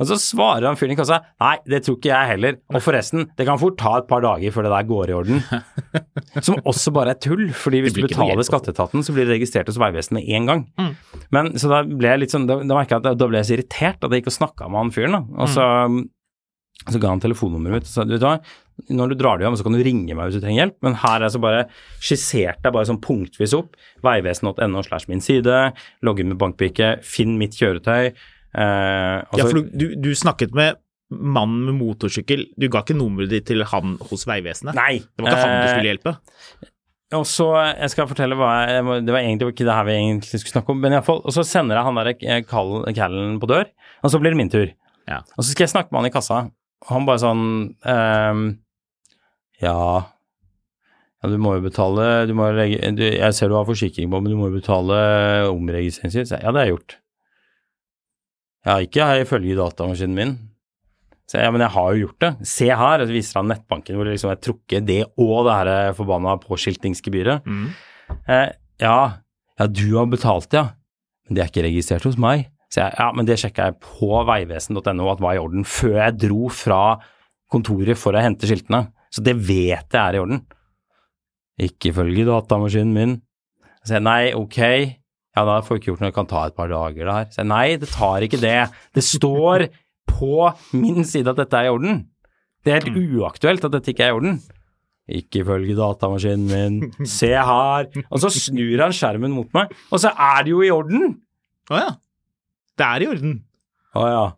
Speaker 2: Og så svarer han fyren i kassa, nei, det tror ikke jeg heller. Og forresten, det kan fort ta et par dager før det der går i orden. Som også bare er tull, fordi hvis
Speaker 3: blir
Speaker 2: du
Speaker 3: ikke noe
Speaker 2: betaler
Speaker 3: hjelp, altså. Mm.
Speaker 2: skatteetaten, så blir det registrert hos Vegvesenet én gang. Men så da ble jeg litt sånn, da, da merket jeg at da ble jeg så irritert at jeg gikk og snakka med han fyren, da. Og så,
Speaker 3: Mm.
Speaker 2: så ga han telefonnummeret mitt og sa du vet hva, når du drar deg hjem, så kan du ringe meg hvis du trenger hjelp, men her er så bare skissert deg bare sånn punktvis opp. Vegvesen.no slash min side, logg inn med bankbrikke, finn mitt kjøretøy. Eh, og
Speaker 3: Ja,
Speaker 2: så-
Speaker 3: for du, du, du snakket med mannen med motorsykkel, du ga ikke nummeret ditt til han hos Vegvesenet?
Speaker 2: Nei.
Speaker 3: Det var ikke han du
Speaker 2: Eh,
Speaker 3: skulle hjelpe?
Speaker 2: Og så, eh, jeg skal fortelle hva jeg, jeg må- Det var egentlig ikke det her vi egentlig skulle snakke om, men iallfall. Og så sender jeg han der eh, Cal- Callen på dør, og så blir det min tur.
Speaker 3: Ja.
Speaker 2: Og så skal jeg snakke med han i kassa, og han bare sånn ehm, Ja ja, du må jo betale du må jo legge, du, Jeg ser du har forsikring på, men du må jo betale omregistreringsavgift. Ja, det har jeg gjort. Ja, ikke her ifølge datamaskinen min. Så, jeg, ja, men jeg har jo gjort det. Se her, og så viser han nettbanken hvor det liksom er trukket det og det her eh, forbanna påskiltningsgebyret. Eh, ja, ja, du har betalt, ja. Men det er ikke registrert hos meg. Så jeg, ja, men det sjekka jeg på vegvesen.no at var i orden, før jeg dro fra kontoret for å hente skiltene. Så det vet jeg er i orden. Ikke ifølge datamaskinen min. Så jeg, nei, ok. Ja, da får jeg ikke gjort noe, det kan ta et par dager det her. Så jeg, nei, det tar ikke det. Det står på min side at dette er i orden. Det er helt uaktuelt at dette ikke er i orden. Ikke ifølge datamaskinen min. Se her. Og så snur han skjermen mot meg, og så er det jo i orden.
Speaker 3: Å ja. Det er i orden.
Speaker 2: Å ja.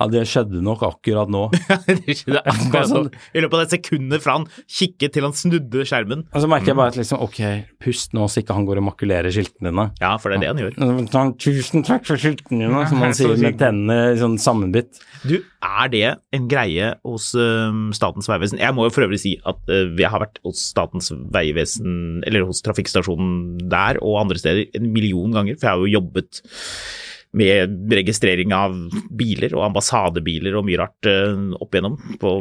Speaker 2: Ja, det skjedde nok akkurat nå.
Speaker 3: Det skjedde akkurat
Speaker 2: Sånn.
Speaker 3: nå. I løpet av det sekundet fra han kikket til han snudde skjermen.
Speaker 2: Og så merker jeg bare at liksom, ok, pust nå så ikke han går og makulerer skiltene dine.
Speaker 3: Ja, for det er det han gjør.
Speaker 2: Sånn, Tusen takk for skiltene dine, som han sier med tennene sånn sammenbitt.
Speaker 3: Du, er det en greie hos øhm, Statens vegvesen? Jeg må jo for øvrig si at øh, jeg har vært hos Statens vegvesen, eller hos trafikkstasjonen der og andre steder, en million ganger, for jeg har jo jobbet med registrering av biler og ambassadebiler og mye rart øh, opp igjennom. På,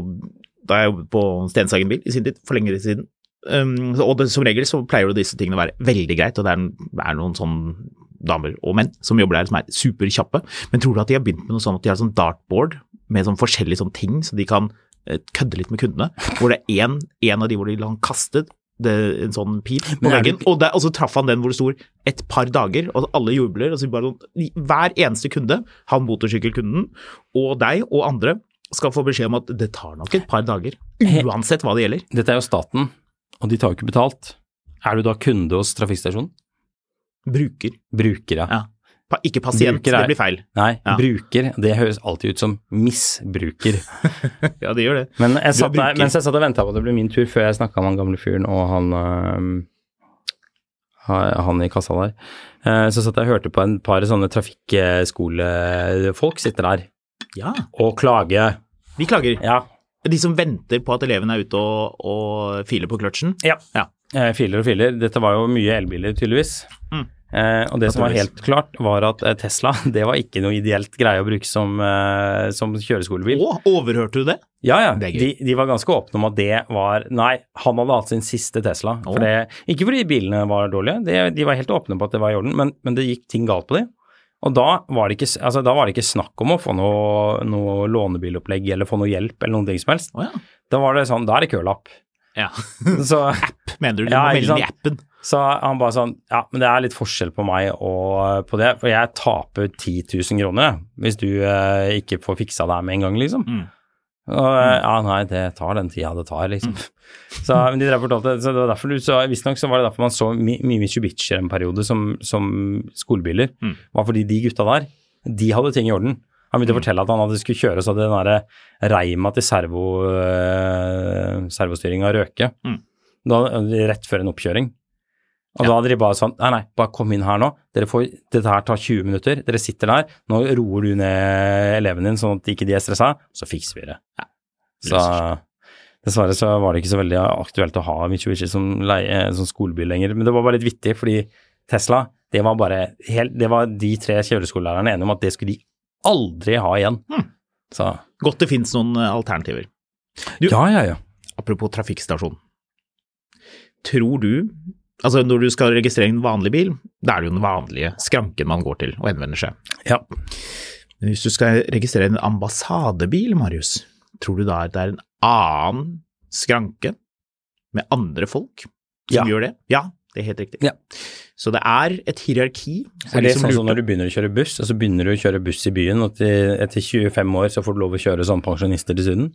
Speaker 3: da jeg jobbet på Stenshagen bil i sin tid, for lengre siden. Um, og det, som regel så pleier jo disse tingene å være veldig greit, og det er, er noen sånn damer og menn som jobber der som er superkjappe. Men tror du at de har begynt med noe sånn at de har sånn dartboard med sånn forskjellige sånne ting, så de kan eh, kødde litt med kundene? Hvor det er en, en av de hvor de han kastet det, en sånn pil på
Speaker 2: Men er det
Speaker 3: veggen, og, der, og så traff han den hvor det stod et par dager, og alle jubler, og så bare sånn Hver eneste kunde, han motorsykkelkunden, og deg og andre, skal få beskjed om at det tar nok et par dager,
Speaker 2: Eh,
Speaker 3: uansett hva det gjelder.
Speaker 2: Dette er jo staten, og de tar jo ikke betalt. Er du da kunde hos trafikkstasjonen?
Speaker 3: Bruker.
Speaker 2: Bruker, ja.
Speaker 3: Ja. Pa ikke pasient,
Speaker 2: Bruker er-
Speaker 3: det blir feil.
Speaker 2: Nei,
Speaker 3: Ja.
Speaker 2: bruker, det høres alltid ut som misbruker.
Speaker 3: Ja, det gjør det.
Speaker 2: Men jeg
Speaker 3: Du er
Speaker 2: satt der,
Speaker 3: bruker.
Speaker 2: mens jeg satt og venta på at det ble min tur, før jeg snakka med han gamle fyren og han øhm, ha- han i kassa der, eh, så satt jeg og hørte på en par sånne trafikkskolefolk sitter der
Speaker 3: Ja,
Speaker 2: og klage.
Speaker 3: De klager.
Speaker 2: Ja.
Speaker 3: De som venter på at elevene er ute og, og filer på kløtsjen.
Speaker 2: ja.
Speaker 3: Ja.
Speaker 2: Eh, Filer og filer. Dette var jo mye elbiler, tydeligvis.
Speaker 3: Mm.
Speaker 2: Eh, og det som var helt klart, var at eh, Tesla det var ikke noe ideelt greie å bruke som, eh, som kjøreskolebil.
Speaker 3: Å, overhørte du det?
Speaker 2: Ja, ja.
Speaker 3: Det er
Speaker 2: De,
Speaker 3: gøy.
Speaker 2: de var ganske åpne om at det var Nei, han hadde hatt sin siste Tesla. For
Speaker 3: Å.
Speaker 2: det, ikke fordi bilene var dårlige, det, de var helt åpne på at det var i orden, men, men det gikk ting galt på dem. Og da var, det ikke, s- altså, da var det ikke snakk om å få noe, noe lånebilopplegg eller få noe hjelp eller noen ting som helst.
Speaker 3: Å ja.
Speaker 2: Da var det sånn, da er det kølapp.
Speaker 3: ja.
Speaker 2: Så,
Speaker 3: Mener du du
Speaker 2: Ja,
Speaker 3: må
Speaker 2: ikke
Speaker 3: melde den i
Speaker 2: sant?
Speaker 3: appen?
Speaker 2: så han bare sånn, ja, men det er litt forskjell på meg og eh, på det, for jeg taper 10 000 kroner jeg, hvis du eh, ikke får fiksa det her med en gang, liksom. Og, eh, ja, nei, det tar den tida det tar, liksom. Så, men de drev og fortalte, så det var derfor du, så visstnok så var det derfor man så mi- mye Mitsubishier en periode som, som skolebiler, var fordi de gutta der, de hadde ting i orden. Han begynte å fortelle at han hadde skulle kjøre, så hadde den derre reima til servo, eh, servostyringa røke. Da, rett før en oppkjøring. Og da hadde de bare sånn Nei, nei, bare kom inn her nå. Dere får, dette her tar 20 minutter. Dere sitter der. Nå roer du ned eleven din, sånn at ikke de er stressa. Så fikser vi det. Så dessverre så var det ikke så veldig aktuelt å ha Mitsubishi som, leie, eh, som skolebil lenger. Men det var bare litt vittig, fordi Tesla, det var bare helt, Det var de tre kjøreskolelærerne enige om at det skulle de aldri ha igjen. Så
Speaker 3: Godt det finnes noen eh, alternativer. Du-
Speaker 2: Ja, ja, ja.
Speaker 3: Apropos trafikkstasjon. Tror du Altså, når du skal registrere en vanlig bil, da er det jo den vanlige skranken man går til og henvender seg.
Speaker 2: Ja.
Speaker 3: Men hvis du skal registrere en ambassadebil, Marius, tror du da at det er en annen skranke med andre folk som
Speaker 2: Ja.
Speaker 3: gjør det? Ja, det er helt riktig.
Speaker 2: Ja.
Speaker 3: Så det er et hierarki.
Speaker 2: Er det sånn som når du begynner å kjøre buss, og så begynner du å kjøre buss i byen, og til, etter 25 år så får du lov å kjøre som pensjonister dessuten?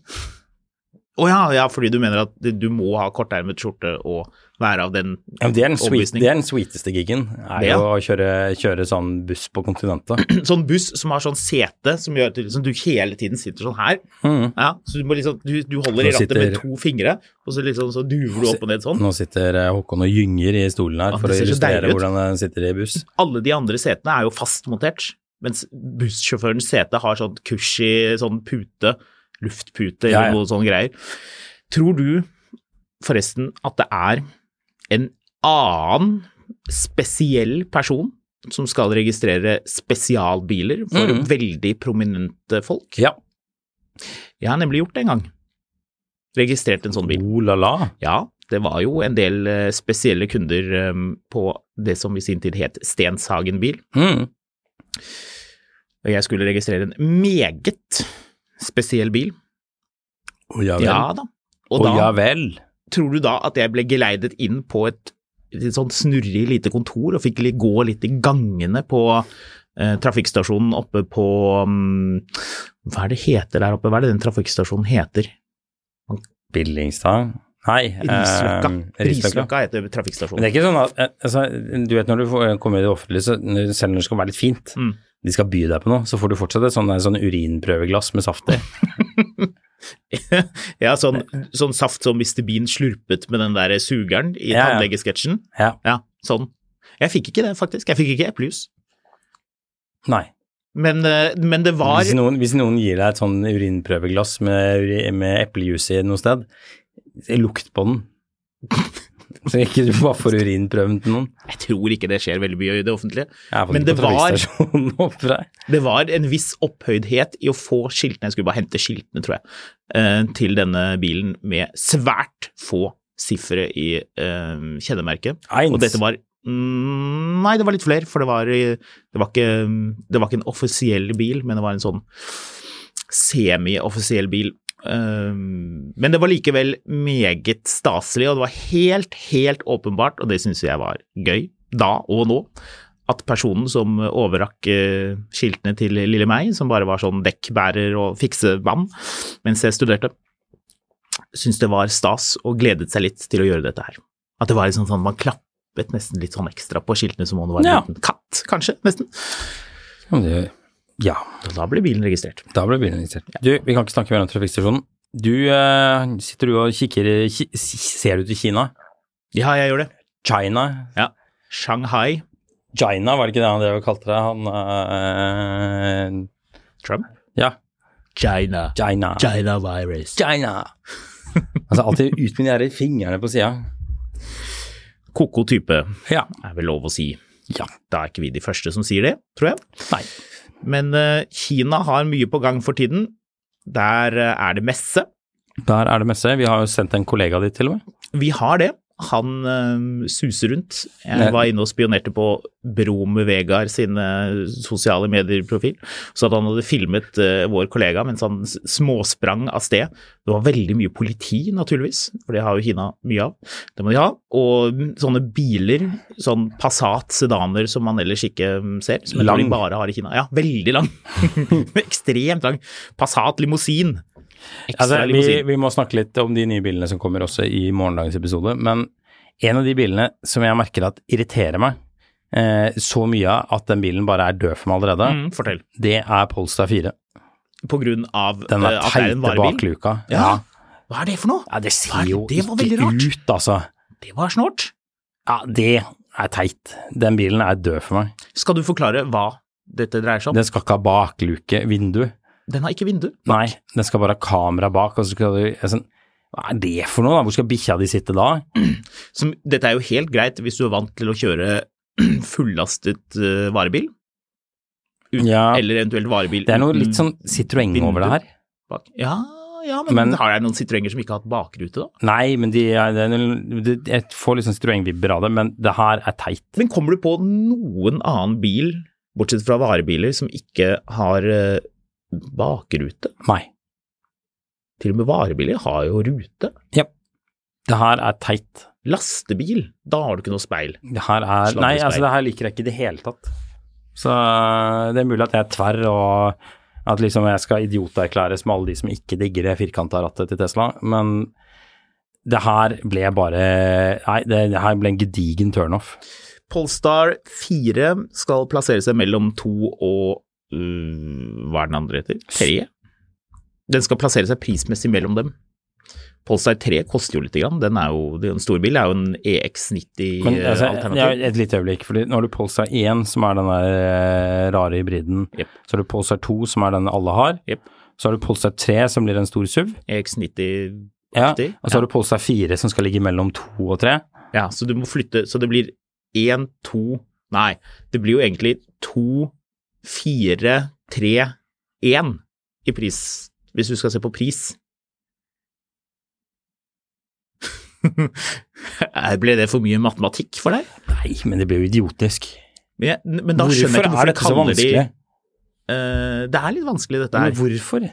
Speaker 3: Å ja, ja, fordi du mener at du må ha kortermet skjorte og være av den
Speaker 2: Ja, men det, er den sweet,
Speaker 3: overbevisning.
Speaker 2: det er den sweeteste giggen, er
Speaker 3: Det, ja.
Speaker 2: jo å kjøre, kjøre sånn buss på kontinentet.
Speaker 3: sånn buss som har sånn sete som gjør at du- som du hele tiden sitter sånn her.
Speaker 2: Mhm.
Speaker 3: Ja, så du, må liksom, du, du holder i
Speaker 2: Nå
Speaker 3: rattet med
Speaker 2: sitter-
Speaker 3: to fingre, og så liksom så duver du opp og ned sånn.
Speaker 2: Nå sitter eh, Håkon og gynger i stolen her
Speaker 3: Ja,
Speaker 2: for å
Speaker 3: det ser så
Speaker 2: illustrere
Speaker 3: deilig ut.
Speaker 2: hvordan han sitter i buss.
Speaker 3: Alle de andre setene er jo fastmontert, mens bussjåførens sete har sånn cushy sånn pute, luftpute
Speaker 2: Ja,
Speaker 3: eller
Speaker 2: ja.
Speaker 3: noe sånne greier. Tror du forresten at det er en annen spesiell person som skal registrere spesialbiler for
Speaker 2: Mhm.
Speaker 3: veldig prominente folk?
Speaker 2: Ja.
Speaker 3: Jeg har nemlig gjort det en gang. Registrert en sånn bil.
Speaker 2: Oh la la.
Speaker 3: Ja, det var jo en del eh, spesielle kunder eh, på det som i sin tid het Stenshagen bil.
Speaker 2: Mhm.
Speaker 3: Og jeg skulle registrere en meget spesiell bil.
Speaker 2: Å ja vel.
Speaker 3: Ja da. Og
Speaker 2: Å
Speaker 3: da
Speaker 2: ja vel.
Speaker 3: tror du da at jeg ble geleidet inn på et, et sånt snurrig lite kontor og fikk li- gå litt i gangene på eh, trafikkstasjonen oppe på mm, Hva er det heter der oppe? Hva er det den trafikkstasjonen heter?
Speaker 2: Billingstad? Nei.
Speaker 3: Risløkka.
Speaker 2: eh, Risløkka.
Speaker 3: Risløkka heter
Speaker 2: Men det
Speaker 3: trafikkstasjonen.
Speaker 2: er ikke sånn at eh, altså, Du vet når du får- kommer i det offentlige, så når- selv når det skal være litt fint,
Speaker 3: Mm.
Speaker 2: de skal by deg på noe, så får du fortsatt et sånn der- sånn urinprøveglass med saft i.
Speaker 3: Ja, sånn,
Speaker 2: Eh,
Speaker 3: sånn saft som Mr. Bean slurpet med den der sugeren i
Speaker 2: Ja, ja.
Speaker 3: tannlegesketsjen.
Speaker 2: Ja.
Speaker 3: Ja, sånn. Jeg fikk ikke det, faktisk. Jeg fikk ikke eplejus.
Speaker 2: Nei.
Speaker 3: Men, eh, men det var
Speaker 2: Hvis noen, hvis noen gir deg et sånn urinprøveglass med, uri- med eplejus i noe sted, lukt på den. Så ikke du bare får urinprøven til noen.
Speaker 3: Jeg tror ikke det skjer veldig mye i det offentlige.
Speaker 2: Jeg er faktisk
Speaker 3: Men
Speaker 2: på
Speaker 3: det var-
Speaker 2: trafikkstasjonen oppe for deg.
Speaker 3: Det var en viss opphøydhet i å få skiltene, jeg skulle bare hente skiltene, tror jeg, eh, til denne bilen med svært få siffre i eh, kjennemerket.
Speaker 2: Eins.
Speaker 3: Og dette var mm, Nei, det var litt flere, for det var, i- det, var ikke, det var ikke en offisiell bil, men det var en sånn semi-offisiell bil. Eh, Men det var likevel meget staselig, og det var helt, helt åpenbart, og det syns jeg var gøy da og nå, at personen som overrakk eh, skiltene til lille meg, som bare var sånn dekkbærer og fiksemann mens jeg studerte, syntes det var stas og gledet seg litt til å gjøre dette her. At det var liksom sånn man klappet nesten litt sånn ekstra på skiltene som om det var en
Speaker 2: Ja.
Speaker 3: liten katt, kanskje, nesten.
Speaker 2: Ja, men det- Ja.
Speaker 3: Og da ble bilen registrert.
Speaker 2: Da ble bilen registrert. Du, vi kan ikke snakke mer om trafikkstasjonen. Du eh, sitter du og kikker i ki Ser du til Kina?
Speaker 3: Ja, jeg gjør det.
Speaker 2: China?
Speaker 3: Ja. Shanghai,
Speaker 2: China, var det ikke det han drev og kalte det? Han eh,
Speaker 3: Trump.
Speaker 2: Ja,
Speaker 3: China.
Speaker 2: China.
Speaker 3: China virus.
Speaker 2: China. Altså alltid ut med de der fingrene på sida.
Speaker 3: Koko type
Speaker 2: Ja.
Speaker 3: er vel lov å si.
Speaker 2: ja.
Speaker 3: Da er ikke vi de første som sier det, tror jeg.
Speaker 2: Nei.
Speaker 3: Men eh, Kina har mye på gang for tiden. Der eh, er det messe.
Speaker 2: Der er det messe. Vi har jo sendt en kollega dit, til og med.
Speaker 3: Vi har det. Han eh, suser rundt.
Speaker 2: Nei.
Speaker 3: Jeg var inne og spionerte på Brom Vegard sin eh, sosiale medier-profil. Så at han hadde filmet eh, vår kollega mens han s- småsprang av sted. Det var veldig mye politi, naturligvis, for det har jo Kina mye av. Det må de ha. Og mm, sånne biler, sånn Passat sedaner som man ellers ikke mm, ser, som jeg tror
Speaker 2: Lang.
Speaker 3: de bare har i Kina. Ja, veldig lang. Ekstremt lang. Passat limousin.
Speaker 2: Altså,
Speaker 3: Ekstra
Speaker 2: vi,
Speaker 3: limousin.
Speaker 2: vi må snakke litt om de nye bilene som kommer også i morgendagens episode. Men en av de bilene som jeg merker at irriterer meg eh, så mye at den bilen bare er død for meg allerede,
Speaker 3: Mm, fortell.
Speaker 2: det er Polestar 4.
Speaker 3: På grunn av
Speaker 2: Den
Speaker 3: eh,
Speaker 2: er
Speaker 3: at det er en
Speaker 2: teite
Speaker 3: varebil.
Speaker 2: bakluka.
Speaker 3: Ja. Hva er det for noe?
Speaker 2: Ja, det
Speaker 3: Hva
Speaker 2: ser
Speaker 3: er-
Speaker 2: jo
Speaker 3: det var veldig
Speaker 2: ikke
Speaker 3: rart.
Speaker 2: ut, altså.
Speaker 3: Det var snålt.
Speaker 2: Ja, det er teit. Den bilen er død for meg.
Speaker 3: Skal du forklare hva dette dreier seg om?
Speaker 2: Den skal ikke ha bakluke, vindu.
Speaker 3: Den har ikke vindu.
Speaker 2: Nei, den skal bare ha kamera bak. Og så skal du, jeg sånn, hva er det for noe? da? Hvor skal bikkja di sitte da?
Speaker 3: Som, dette er jo helt greit hvis du er vant til å kjøre fullastet eh, varebil ut,
Speaker 2: Ja.
Speaker 3: eller eventuelt varebil.
Speaker 2: Det er noe
Speaker 3: uten
Speaker 2: litt sånn Citroën
Speaker 3: vindu
Speaker 2: over det her.
Speaker 3: bak. Ja, ja men,
Speaker 2: Men-
Speaker 3: har jeg noen Citroënger som ikke har hatt bakrute, da?
Speaker 2: Nei, men de, er- det er noe- det- jeg får litt sånn Citroën-vibber av det, men det her er teit.
Speaker 3: Men kommer du på noen annen bil, bortsett fra varebiler, som ikke har eh, bakrute?
Speaker 2: Nei.
Speaker 3: Til og med varebiler har jo rute.
Speaker 2: Ja. Det her er teit.
Speaker 3: Lastebil, da har du ikke noe speil.
Speaker 2: Det her er
Speaker 3: Sladdespeil.
Speaker 2: Nei, altså, det her liker jeg ikke i det hele tatt. Så eh, det er mulig at jeg er tverr, og at liksom jeg skal idioterklæres med alle de som ikke digger det firkanta rattet til Tesla, men det her ble bare Nei, det, det her ble en gedigen turnoff.
Speaker 3: Polestar 4 skal plassere seg mellom to og øh, Hva er den andre heter? Tre? Den skal plassere seg prismessig mellom dem. Polestar 3 koster jo lite grann. Den er jo det er jo en storbil. Det er jo en E
Speaker 2: Men
Speaker 3: eh,
Speaker 2: altså,
Speaker 3: EX90-alternativ.
Speaker 2: ja, et lite øyeblikk, fordi nå har du Polestar 1, som er den der eh, rare hybriden.
Speaker 3: Jep.
Speaker 2: Så har du Polestar 2, som er den alle har.
Speaker 3: Jep.
Speaker 2: Så har du Polestar 3, som blir en stor SUV.
Speaker 3: E EX90
Speaker 2: Ja. Og så
Speaker 3: Riktig,
Speaker 2: har du Polestar 4, som skal ligge mellom 2 og 3.
Speaker 3: Ja, så du må flytte Så det blir én, to Nei, det blir jo egentlig to, fire, tre, én i pris, hvis du skal se på pris. Eh, Ble det for mye matematikk for deg?
Speaker 2: Nei, men det blir jo idiotisk.
Speaker 3: Men, jeg, men da skjønner jeg ikke hvorfor de kaller de Eh, Det er litt vanskelig, dette
Speaker 2: Men
Speaker 3: her.
Speaker 2: hvorfor?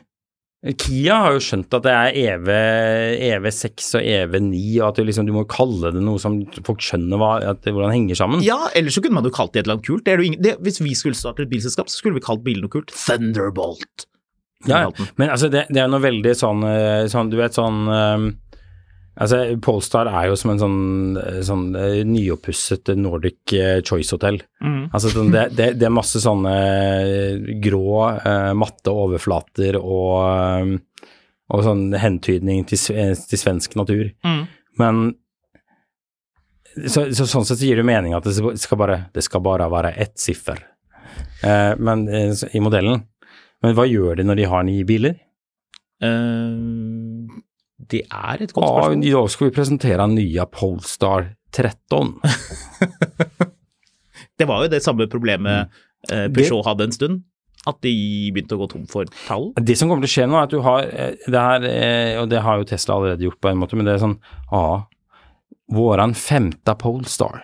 Speaker 2: Kia har jo skjønt at det er EV, EV6 og EV9, og at du, liksom, du må kalle det noe som folk skjønner hva, at, det- hvordan det henger sammen.
Speaker 3: Ja, ellers så kunne man jo kalt det et eller annet kult. Det er jo ingen, det, hvis vi skulle starte et bilselskap, så skulle vi kalt bilen noe kult. Thunderbolt.
Speaker 2: Ja, ja. men altså, det, det er noe veldig sånn, eh, sånn Du vet sånn eh, Altså, Polestar er jo som en sånn, eh, sånn eh, nyoppusset Nordic eh, Choice Hotel. Altså, sånn, det, det, det er masse sånne eh, grå, eh, matte overflater og, eh, og sånn hentydning til, sve- til svensk natur. Men så, så, sånn sett så gir det mening at det skal bare, det skal bare være ett siffer eh, men, eh, så- i modellen. Men hva gjør de når de har ni biler?
Speaker 3: Eh, det er et godt
Speaker 2: Ja,
Speaker 3: spørsmål.
Speaker 2: I dag skal vi presentere nye Polestar 13.
Speaker 3: Det var jo det samme problemet eh, Peugeot hadde en stund. At de begynte å gå tom for tall.
Speaker 2: Det som kommer til å skje nå, er at du har eh, det her, eh, og det har jo Tesla allerede gjort på en måte, men det er sånn Ja, våran femte Polestar,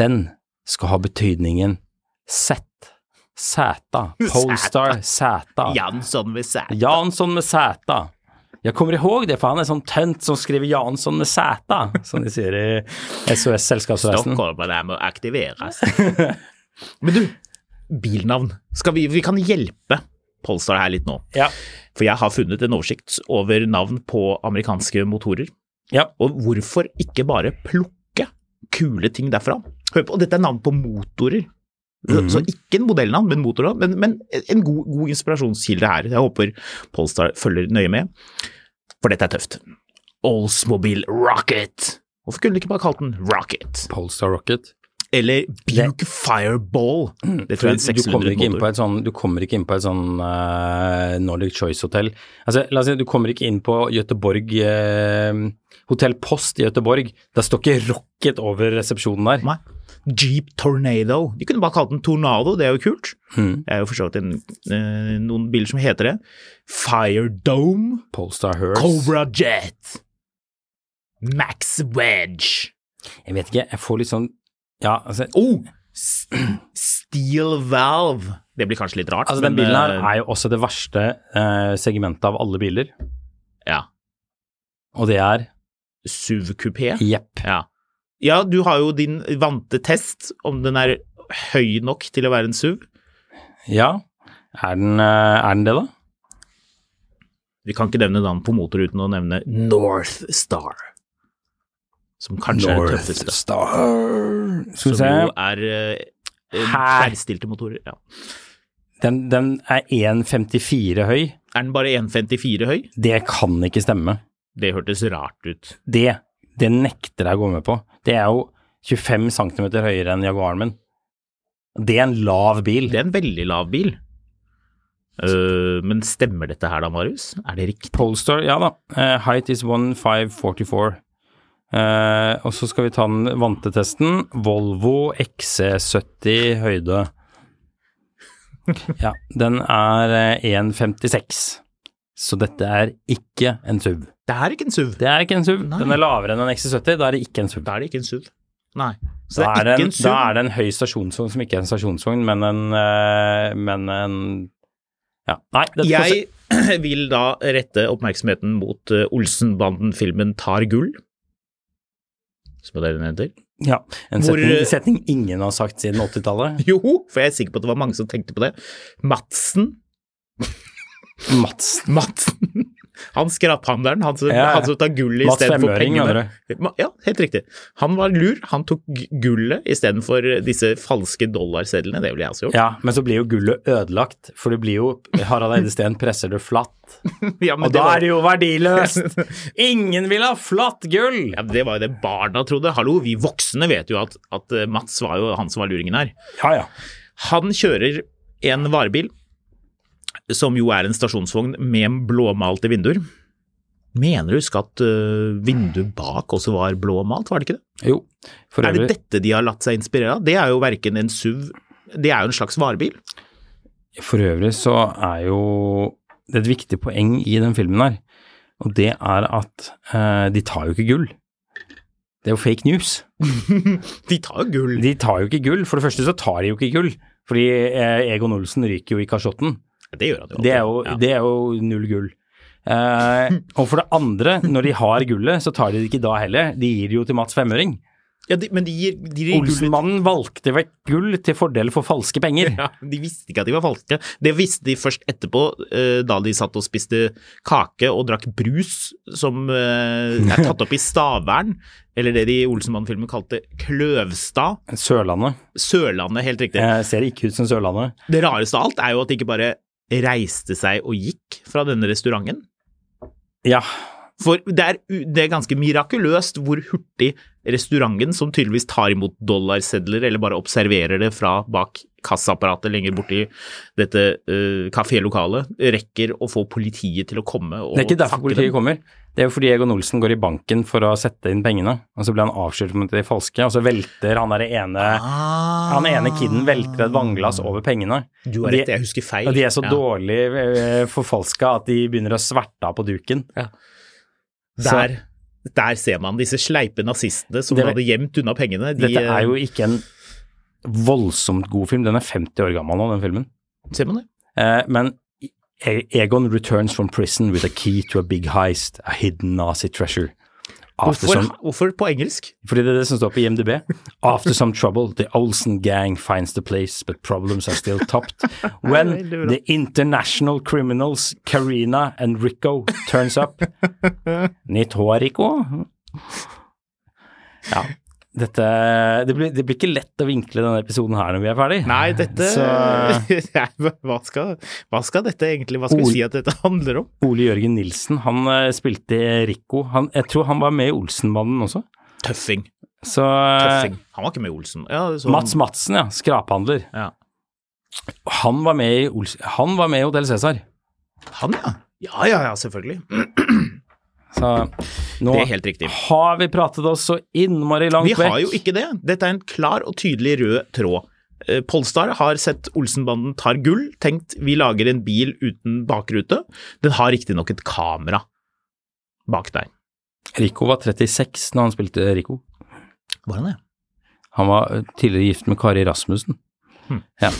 Speaker 2: den skal ha betydningen Z. Zäta. Polestar Zäta.
Speaker 3: Jansson ved Sæter.
Speaker 2: Jansson med Zäta. Jeg kommer ihåg det, for han er sånn tønt som skriver Jansson med Zäta, som de sier i SOS Selskapsreisen.
Speaker 3: Stockholmerne må aktiveres. Men du, bilnavn. Skal vi, vi kan hjelpe Polestar her litt nå.
Speaker 2: Ja.
Speaker 3: For jeg har funnet en oversikt over navn på amerikanske motorer.
Speaker 2: Ja.
Speaker 3: Og hvorfor ikke bare plukke kule ting derfra? Hør på, og dette er navn på motorer. Så-
Speaker 2: Mhm.
Speaker 3: Så ikke en modellnavn, men motornavn. Men, men en god, god inspirasjonskilde her. Jeg håper Polestar følger nøye med, for dette er tøft. Oldsmobile Rocket. Hvorfor kunne de ikke bare kalt den Rocket?
Speaker 2: Polestar Rocket.
Speaker 3: Eller Buke Fireball. Det tror jeg
Speaker 2: Mm,
Speaker 3: er en
Speaker 2: du kommer
Speaker 3: 600
Speaker 2: ikke inn på
Speaker 3: motor.
Speaker 2: et sånn, du kommer ikke inn på et sånn eh, Nordic Choice Hotel. Altså, la oss si, du kommer ikke inn på Göteborg uh, Hotell Post i Göteborg. Da står ikke Rocket over resepsjonen der.
Speaker 3: Nei. Jeep Tornado. De kunne bare kalt den Tornado, det er jo kult.
Speaker 2: Mhm.
Speaker 3: Det er jo for så vidt en, eh, noen biler som heter det. Fire Dome.
Speaker 2: Polestar Hearse.
Speaker 3: Cobra Jet. Max Wedge.
Speaker 2: Jeg vet ikke, jeg får litt sånn Ja, altså,
Speaker 3: Oh! S- Steel Valve. Det blir kanskje litt rart.
Speaker 2: altså den
Speaker 3: men,
Speaker 2: bilen her
Speaker 3: eh,
Speaker 2: er jo også det verste eh, segmentet av alle biler,
Speaker 3: Ja.
Speaker 2: og det er
Speaker 3: SUV-kupé.
Speaker 2: jepp.
Speaker 3: Ja. ja, du har jo din vante test om den er høy nok til å være en SUV.
Speaker 2: Ja, er den, eh, er den det, da?
Speaker 3: Vi kan ikke nevne navn på motor uten å nevne North Star. Som kanskje er det tøffeste.
Speaker 2: Star Skal vi
Speaker 3: Som
Speaker 2: se.
Speaker 3: jo er eh, eh,
Speaker 2: Her.
Speaker 3: tverrstilte motorer. Ja.
Speaker 2: Den, den er 1,54 høy.
Speaker 3: Er den bare 1,54 høy?
Speaker 2: Det kan ikke stemme.
Speaker 3: Det hørtes rart ut.
Speaker 2: Det, det nekter jeg å gå med på. Det er jo 25 cm høyere enn Jaguaren min. Det er en lav bil.
Speaker 3: Det er en veldig lav bil. Eh, men stemmer dette her da, Marius? Er det riktig?
Speaker 2: Polestar, ja da. Eh, height is 1544. Eh, og så skal vi ta den E vante testen. Volvo XC70 høyde. Ja, den er eh, 1,56. Så dette er ikke en SUV.
Speaker 3: Det er ikke en SUV.
Speaker 2: Det er ikke en SUV.
Speaker 3: Nei.
Speaker 2: Den er lavere enn en XC70, da er det ikke en SUV.
Speaker 3: Da er det ikke en SUV. Nei.
Speaker 2: Da
Speaker 3: Så det
Speaker 2: er,
Speaker 3: er
Speaker 2: det
Speaker 3: ikke
Speaker 2: en,
Speaker 3: en SUV.
Speaker 2: da er det en høy stasjonsvogn som ikke er en stasjonsvogn, men en, eh, men en Ja, nei, dette passer-
Speaker 3: Jeg vil da rette oppmerksomheten mot eh, Olsenbanden-filmen Tar gull, som er det den heter.
Speaker 2: ja, En
Speaker 3: Hvor-
Speaker 2: setning, setning ingen har sagt siden 80-tallet.
Speaker 3: Jo, for jeg er sikker på at det var mange som tenkte på det. Madsen.
Speaker 2: Madsen.
Speaker 3: Madsen. Han skraphandleren, han som,
Speaker 2: Ja, ja.
Speaker 3: han som tar gull
Speaker 2: Mats
Speaker 3: istedenfor
Speaker 2: Femøring,
Speaker 3: pengene. Ma- Ja, helt riktig. Han var lur, han tok gu- gullet istedenfor disse falske dollarsedlene, det ville jeg også gjort.
Speaker 2: Ja, men så blir jo gullet ødelagt, for det blir jo Harald Eide Steen presser det flatt.
Speaker 3: Ja, men
Speaker 2: Og
Speaker 3: det
Speaker 2: da
Speaker 3: var-
Speaker 2: er det jo verdiløst! Ingen vil ha flatt gull!
Speaker 3: Ja, Det var jo det barna trodde. Hallo, vi voksne vet jo at, at eh, Mats var jo han som var luringen her.
Speaker 2: Ja, ja.
Speaker 3: Han kjører en varebil, som jo er en stasjonsvogn med blåmalte vinduer. Mener du huske at eh, vinduet bak også var blåmalt, var det ikke det?
Speaker 2: Jo, for
Speaker 3: Er det
Speaker 2: øvrig,
Speaker 3: dette de har latt seg inspirere av? Det er jo verken en SUV Det er jo en slags varebil.
Speaker 2: for øvrig så er jo det er et viktig poeng i den filmen her, og det er at eh, de tar jo ikke gull. Det er jo fake news.
Speaker 3: De tar jo gull.
Speaker 2: De tar jo ikke gull. For det første så tar de jo ikke gull, fordi eh, Egon Olsen ryker jo i kasjotten.
Speaker 3: Det gjør han jo. alltid.
Speaker 2: Det er jo,
Speaker 3: Ja.
Speaker 2: det er jo null gull. Eh, og for det andre, når de har gullet, så tar de det ikke da heller. De gir det jo til Mats Femøring.
Speaker 3: ja, de, men de gir, de gir gull.
Speaker 2: Olsenmannen valgte vekk gull til fordel for falske penger.
Speaker 3: Ja, de visste ikke at de var falske. Det visste de først etterpå, eh, da de satt og spiste kake og drakk brus, som eh, er tatt opp i Stavern, eller det de i Olsenmann-filmen kalte Kløvstad.
Speaker 2: Sørlandet.
Speaker 3: Sørlandet, helt riktig.
Speaker 2: Eh, ser ikke ut som Sørlandet.
Speaker 3: Det rareste av alt er jo at de ikke bare reiste seg og gikk fra denne restauranten.
Speaker 2: Ja,
Speaker 3: For det er, u- det er ganske mirakuløst hvor hurtig restauranten, som tydeligvis tar imot dollarsedler eller bare observerer det fra bak kassaapparatet lenger borti dette uh, kafélokalet, rekker å få politiet til å komme og
Speaker 2: Det er ikke derfor
Speaker 3: fakke
Speaker 2: politiet
Speaker 3: dem.
Speaker 2: kommer. Det er jo fordi Egon Olsen går i banken for å sette inn pengene, og så blir han avslørt med at de er falske, og så velter han der ene
Speaker 3: Ah.
Speaker 2: Han ene kiden velter et vannglass over pengene.
Speaker 3: Du har
Speaker 2: De-
Speaker 3: rett, jeg husker feil.
Speaker 2: Og de er så
Speaker 3: Ja.
Speaker 2: dårlig eh, forfalska at de begynner å sverte av på duken.
Speaker 3: Der, der ser man disse sleipe nazistene som
Speaker 2: Det-
Speaker 3: hadde gjemt unna pengene. De, eh,
Speaker 2: Dette er jo ikke en voldsomt god film. Den er 50 år gammel nå, den filmen.
Speaker 3: Ser man det?
Speaker 2: Eh, men E- Egon returns from prison with a key to a big heist, a hidden Nazi treasure. After
Speaker 3: Hvorfor,
Speaker 2: some,
Speaker 3: hvorfor på engelsk?
Speaker 2: fordi det er det som står på IMDb. After some trouble, the Olsen gang finds the place, but problems are still topped. When the international criminals Karina and Rico turns up. Nytt hår, Rico. Ja. Dette, det, blir, det blir ikke lett å vinkle denne episoden her når vi er ferdig.
Speaker 3: Nei, dette
Speaker 2: Ah, Så-
Speaker 3: hva, skal, hva skal dette egentlig Hva skal
Speaker 2: Ol-
Speaker 3: vi si at dette handler om?
Speaker 2: Ole Jørgen Nilsen, han eh, spilte Rico. Han, jeg tror han var med i Olsenbanden også.
Speaker 3: Tøffing.
Speaker 2: Så eh,
Speaker 3: Tøffing. Han var ikke med i Olsen. Ja, sånn- så,
Speaker 2: Mats Madsen, ja. Skraphandler.
Speaker 3: Ja.
Speaker 2: Han var med i, Ols han var med i Hotell Cæsar.
Speaker 3: Han, ja. Ja, ja, ja, selvfølgelig.
Speaker 2: Så nå
Speaker 3: Det er helt riktig.
Speaker 2: har vi pratet oss så innmari langt
Speaker 3: Vi
Speaker 2: vekk.
Speaker 3: har jo ikke det. Dette er en klar og tydelig rød tråd. Eh, Polestar har sett Olsenbanden tar gull, tenkt vi lager en bil uten bakrute. Den har riktignok et kamera bak der.
Speaker 2: Rico var 36 når han spilte Rico.
Speaker 3: Var han det?
Speaker 2: Han var eh, tidligere gift med Kari Rasmussen. Ja.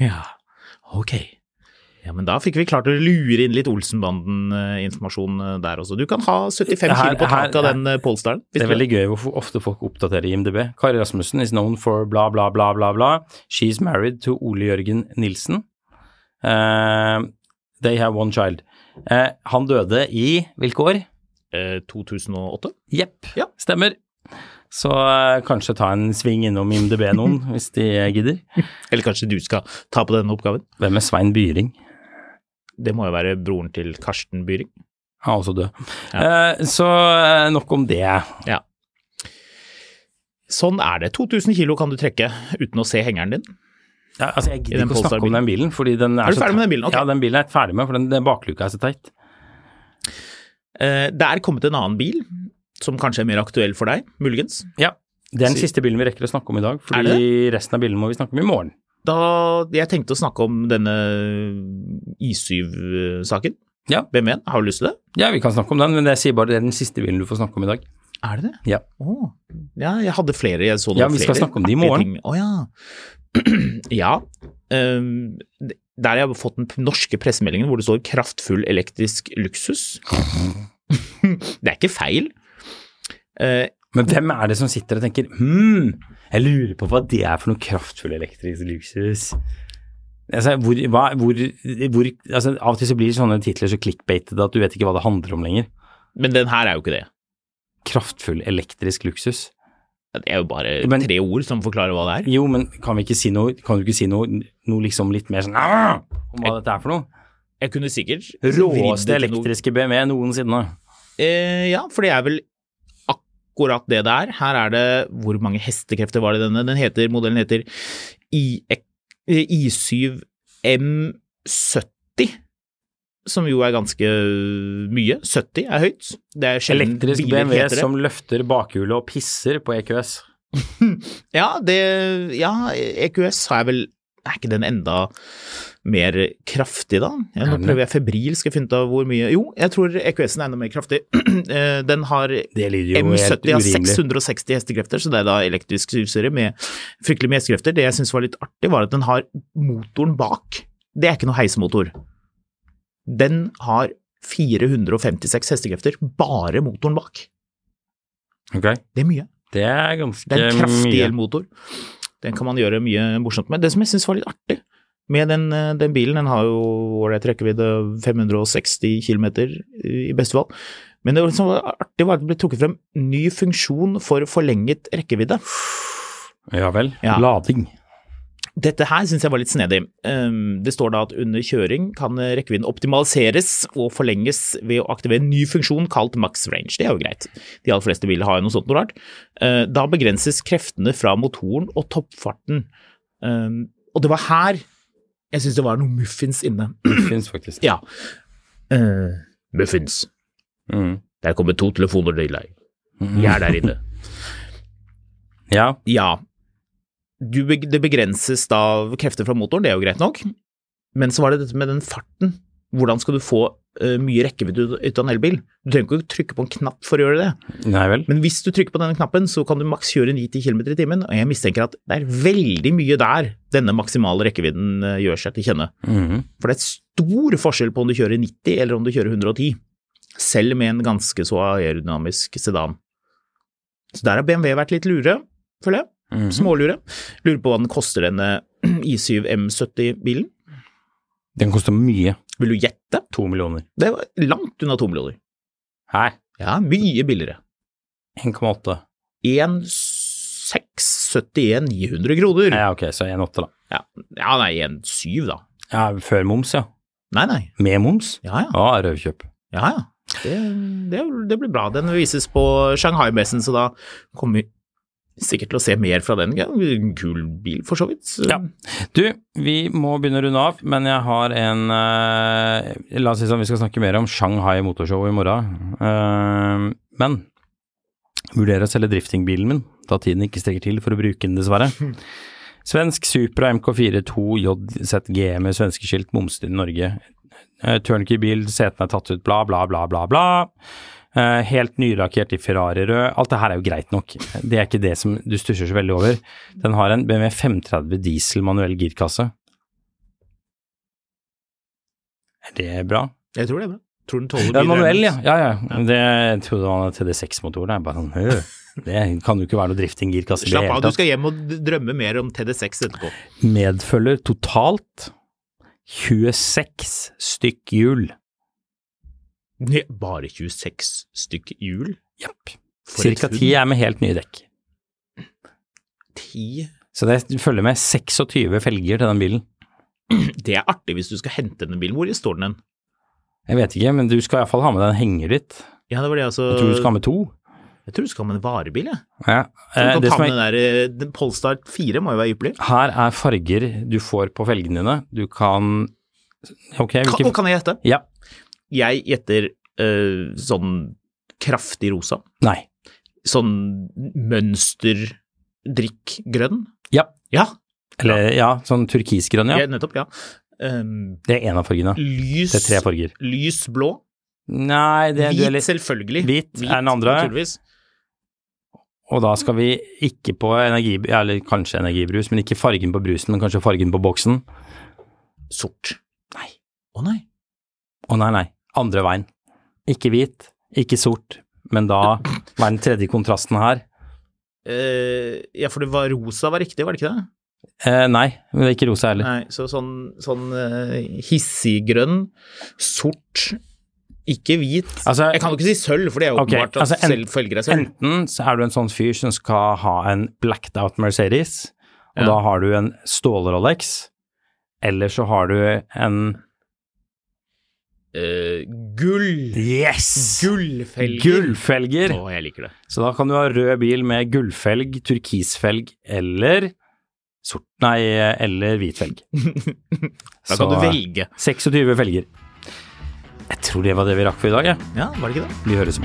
Speaker 3: Ja, ok. Ja, men da fikk vi klart å lure inn litt Olsenbanden-informasjon eh, der også. Du kan ha 75
Speaker 2: Her-
Speaker 3: kilo på
Speaker 2: her-
Speaker 3: taket av
Speaker 2: her-
Speaker 3: den eh, Polestaren.
Speaker 2: Det
Speaker 3: hvis du
Speaker 2: er
Speaker 3: vil.
Speaker 2: veldig gøy hvor ofte folk oppdaterer IMDb. Kari Rasmussen is known for bla, bla, bla, bla, bla. She's married to Ole Jørgen Nilsen. Eh, they have one child. Eh, han døde i hvilke år?
Speaker 3: Eh, 2008?
Speaker 2: Jepp,
Speaker 3: Ja.
Speaker 2: stemmer. Så eh, kanskje ta en sving innom IMDb noen, hvis de eh, gidder.
Speaker 3: Eller kanskje du skal ta på denne oppgaven?
Speaker 2: Hvem er Svein Byring?
Speaker 3: Det må jo være broren til Karsten Byring.
Speaker 2: Han er også død. Eh, så eh, nok om det.
Speaker 3: Ja. Sånn er det. 2000 kilo kan du trekke uten å se hengeren din.
Speaker 2: Ja, altså, jeg
Speaker 3: I
Speaker 2: gidder
Speaker 3: den
Speaker 2: ikke å snakke om
Speaker 3: Polestar-bilen.
Speaker 2: den bilen. Fordi den er,
Speaker 3: Er du
Speaker 2: så
Speaker 3: ferdig med
Speaker 2: teit.
Speaker 3: den bilen? Ok.
Speaker 2: Ja, den bilen er jeg ferdig med, for den, den bakluka er så teit.
Speaker 3: Eh, det er kommet en annen bil som kanskje er mer aktuell for deg, muligens.
Speaker 2: Ja, det er den
Speaker 3: Si-
Speaker 2: siste bilen vi rekker å snakke om i dag,
Speaker 3: Er det
Speaker 2: fordi resten av bilen må vi snakke om i morgen.
Speaker 3: da Jeg tenkte å snakke om denne I7-saken.
Speaker 2: Ja.
Speaker 3: BMW'en, har du lyst til det?
Speaker 2: ja, vi kan snakke om den, men jeg sier bare det er den siste bilen du får snakke om i dag.
Speaker 3: Er det det?
Speaker 2: Ja.
Speaker 3: Å, ja, jeg hadde flere. Jeg så det
Speaker 2: Ja,
Speaker 3: var
Speaker 2: vi skal
Speaker 3: flere
Speaker 2: snakke om de i
Speaker 3: artige
Speaker 2: morgen.
Speaker 3: ting. Å ja. ja. ehm, der har jeg fått den p- norske pressemeldingen hvor det står 'kraftfull elektrisk luksus'. det er ikke feil. Eh,
Speaker 2: Men hvem er det som sitter og tenker hm, jeg lurer på hva det er for noe kraftfull elektrisk luksus? Altså, hvor, hva, hvor, hvor, altså, av og til så blir sånne titler så clickbaited at du vet ikke hva det handler om lenger.
Speaker 3: men den her er jo ikke det.
Speaker 2: Kraftfull elektrisk luksus.
Speaker 3: Det er jo bare
Speaker 2: Men-
Speaker 3: tre ord som forklarer hva det er.
Speaker 2: Jo, men kan, vi ikke si noe, kan du ikke si noe, noe liksom litt mer sånn «Ah!» om hva dette er for noe?
Speaker 3: Jeg kunne sikkert vridd
Speaker 2: Råeste
Speaker 3: det til noe-
Speaker 2: elektriske BMW noensinne.
Speaker 3: Eh, ja, for det er vel akkurat det det er. Her er det Hvor mange hestekrefter var det i denne? Den heter, modellen heter I, eh, I7 M70. Som jo er ganske mye. 70 er høyt. Det er sjelden
Speaker 2: Elektrisk
Speaker 3: biler
Speaker 2: BMW
Speaker 3: heter det.
Speaker 2: som løfter bakhjulet og pisser på E EQS.
Speaker 3: Ja, det Ja, E EQS er vel Er ikke den enda mer kraftig, da? Ja, nå
Speaker 2: Er den det?
Speaker 3: prøver jeg febrilsk å finne ut av hvor mye Jo, jeg tror EQS-en er enda mer kraftig. Eh, den har
Speaker 2: Det lyder jo helt
Speaker 3: M70 har
Speaker 2: urimelig.
Speaker 3: 660 hestekrefter, så det er da elektrisk sugeserie med fryktelig med hestekrefter. Det jeg syns var litt artig, var at den har motoren bak. Det er ikke noe heisemotor. Den har 456 hestekrefter, bare motoren bak.
Speaker 2: Ok,
Speaker 3: Det er mye.
Speaker 2: Det er ganske
Speaker 3: Det er en kraftig
Speaker 2: Eh, mye.
Speaker 3: elmotor. Den kan man gjøre mye morsomt med. Det som jeg syns var litt artig med den, eh, den bilen, den har jo ålreit rekkevidde 560 km i beste fall. Men det som var artig, var at det ble trukket frem ny funksjon for forlenget rekkevidde.
Speaker 2: Ja vel.
Speaker 3: Ja.
Speaker 2: Lading.
Speaker 3: Dette her syns jeg var litt snedig. Ehm, Det står da at under kjøring kan rekkevidden optimaliseres og forlenges ved å aktivere en ny funksjon kalt max range. Det er jo greit. De aller fleste biler har jo noe sånt noe rart. Eh, Da begrenses kreftene fra motoren og toppfarten. Ehm, Og det var her jeg syns det var noe muffins inne.
Speaker 2: Det finnes faktisk.
Speaker 3: Ja. Eh, muffins.
Speaker 2: Mm.
Speaker 3: Der kommer to telefoner til deg. Jeg er der inne.
Speaker 2: Ja.
Speaker 3: Ja. Du, beg- det begrenses da av krefter fra motoren, det er jo greit nok. Men så var det dette med den farten. Hvordan skal du få eh, mye rekkevidde ut- ut av en elbil? Du trenger ikke å trykke på en knapp for å gjøre det.
Speaker 2: Nei vel.
Speaker 3: Men hvis du trykker på denne knappen, så kan du maks kjøre 9-10 km i timen. Og jeg mistenker at det er veldig mye der denne maksimale rekkevidden eh, gjør seg til kjenne.
Speaker 2: Mhm.
Speaker 3: For det er stor forskjell på om du kjører 90 eller om du kjører 110, selv med en ganske så aerodynamisk sedan. Så der har BMW vært litt lure, føler jeg.
Speaker 2: Mhm.
Speaker 3: Smålure. Lurer på hva den koster, denne I7 M70-bilen.
Speaker 2: Den koster mye.
Speaker 3: Vil du gjette?
Speaker 2: To millioner.
Speaker 3: Det var langt unna to millioner.
Speaker 2: Hæ?
Speaker 3: Ja, mye billigere.
Speaker 2: 1,8.
Speaker 3: 1671 900 kroner.
Speaker 2: Ja, ok, så 1,8 da.
Speaker 3: Ja, ja nei, 17, da.
Speaker 2: Ja, før moms, ja.
Speaker 3: Nei, nei.
Speaker 2: Med moms?
Speaker 3: Ja, ja.
Speaker 2: Ja, røvkjøp.
Speaker 3: Ja, ja. Det, det, det blir bra. Den vises på Shanghai-messen, så da kommer vi sikkert til å se mer fra den. Ja, en kul bil, for så vidt. Så-
Speaker 2: Ja. Du, vi må begynne å runde av, men jeg har en eh, La oss si sånn, vi skal snakke mer om Shanghai Motorshow i morgen. Eh, men vurderer å selge driftingbilen min, da tiden ikke strekker til for å bruke den, dessverre. Svensk Supra MK4 2 JZG med svenskeskilt momset i Norge. Eh, Turnkey-bil, setene er tatt ut, bla, bla, bla, bla, bla. Eh, Helt nylakkert i Ferrari-rød. Alt det her er jo greit nok. Det er ikke det som du stusser så veldig over. Den har en BMW 530 diesel manuell girkasse. Er det bra?
Speaker 3: Jeg tror det er bra. Tror den tåler
Speaker 2: Ja,
Speaker 3: biler.
Speaker 2: manuell, ja. ja, ja. Det jeg trodde han hadde TD6-motoren. Jeg bare sånn «Hø, Det kan jo ikke være noe drifting-girkasse i det
Speaker 3: Slapp
Speaker 2: hele
Speaker 3: av, du
Speaker 2: tatt.
Speaker 3: skal hjem og d- drømme mer om TD6 etterpå.
Speaker 2: Medfølger totalt 26 stykk hjul.
Speaker 3: Ne, Bare 26 stykk hjul?
Speaker 2: Japp.
Speaker 3: For et
Speaker 2: Cirka
Speaker 3: funn.
Speaker 2: 10 er med helt nye dekk.
Speaker 3: Ti?
Speaker 2: Så det følger med 26 felger til den bilen.
Speaker 3: Det er artig hvis du skal hente denne bilen. Hvor står den hen?
Speaker 2: Jeg vet ikke, men du skal iallfall ha med deg en henger ditt.
Speaker 3: Ja, det var det, altså.
Speaker 2: Jeg tror du skal ha med to.
Speaker 3: Jeg tror du skal ha med en varebil, jeg.
Speaker 2: Ja.
Speaker 3: Du
Speaker 2: Eh,
Speaker 3: kan
Speaker 2: det
Speaker 3: ta
Speaker 2: som
Speaker 3: med
Speaker 2: er,
Speaker 3: den der eh, den Polestar 4, må jo være ypperlig.
Speaker 2: her er farger du får på felgene dine. Du kan Ok,
Speaker 3: Kan,
Speaker 2: hvilke
Speaker 3: og kan jeg gjette?
Speaker 2: Ja.
Speaker 3: Jeg gjetter eh, sånn kraftig rosa.
Speaker 2: Nei.
Speaker 3: Sånn mønsterdrikk grønn.
Speaker 2: Ja.
Speaker 3: Ja,
Speaker 2: Eller ja, sånn turkisgrønn,
Speaker 3: Ja.
Speaker 2: ja.
Speaker 3: nettopp, ja. Um,
Speaker 2: Det er én av fargene.
Speaker 3: lys,
Speaker 2: Det er tre farger.
Speaker 3: lys blå.
Speaker 2: Nei, det du
Speaker 3: Hvit,
Speaker 2: er litt
Speaker 3: selvfølgelig.
Speaker 2: Hvit er den andre.
Speaker 3: Naturligvis.
Speaker 2: Og da skal vi ikke på energi... Eller kanskje energibrus, men ikke fargen på brusen, men kanskje fargen på boksen.
Speaker 3: Sort.
Speaker 2: Nei.
Speaker 3: Å nei.
Speaker 2: Å nei, nei. Andre veien. Ikke hvit, ikke sort, men da var den tredje kontrasten her.
Speaker 3: Eh, ja, for det var rosa var riktig, var det ikke det?
Speaker 2: Eh, nei, det er ikke rosa heller.
Speaker 3: Nei, så sånn, sånn eh, hissiggrønn, sort, ikke hvit.
Speaker 2: Altså-
Speaker 3: jeg kan jo ikke si sølv, for det er jo
Speaker 2: Ok,
Speaker 3: åpenbart at
Speaker 2: altså en-
Speaker 3: selv følger er sølv.
Speaker 2: Enten så er du en sånn fyr som skal ha en blacked out Mercedes, og
Speaker 3: Ja.
Speaker 2: da har du en stål-Rolex, eller så har du en
Speaker 3: Eh, gull.
Speaker 2: Yes!
Speaker 3: Gullfelger.
Speaker 2: Gullfelger!
Speaker 3: Å, jeg liker det.
Speaker 2: Så da kan du ha rød bil med gullfelg, turkisfelg eller sort Nei, eller hvit felg.
Speaker 3: Da kan du velge.
Speaker 2: 26 felger. Jeg tror det var det vi rakk for i dag, jeg.
Speaker 3: Ja, var det ikke det?
Speaker 2: Vi høres om.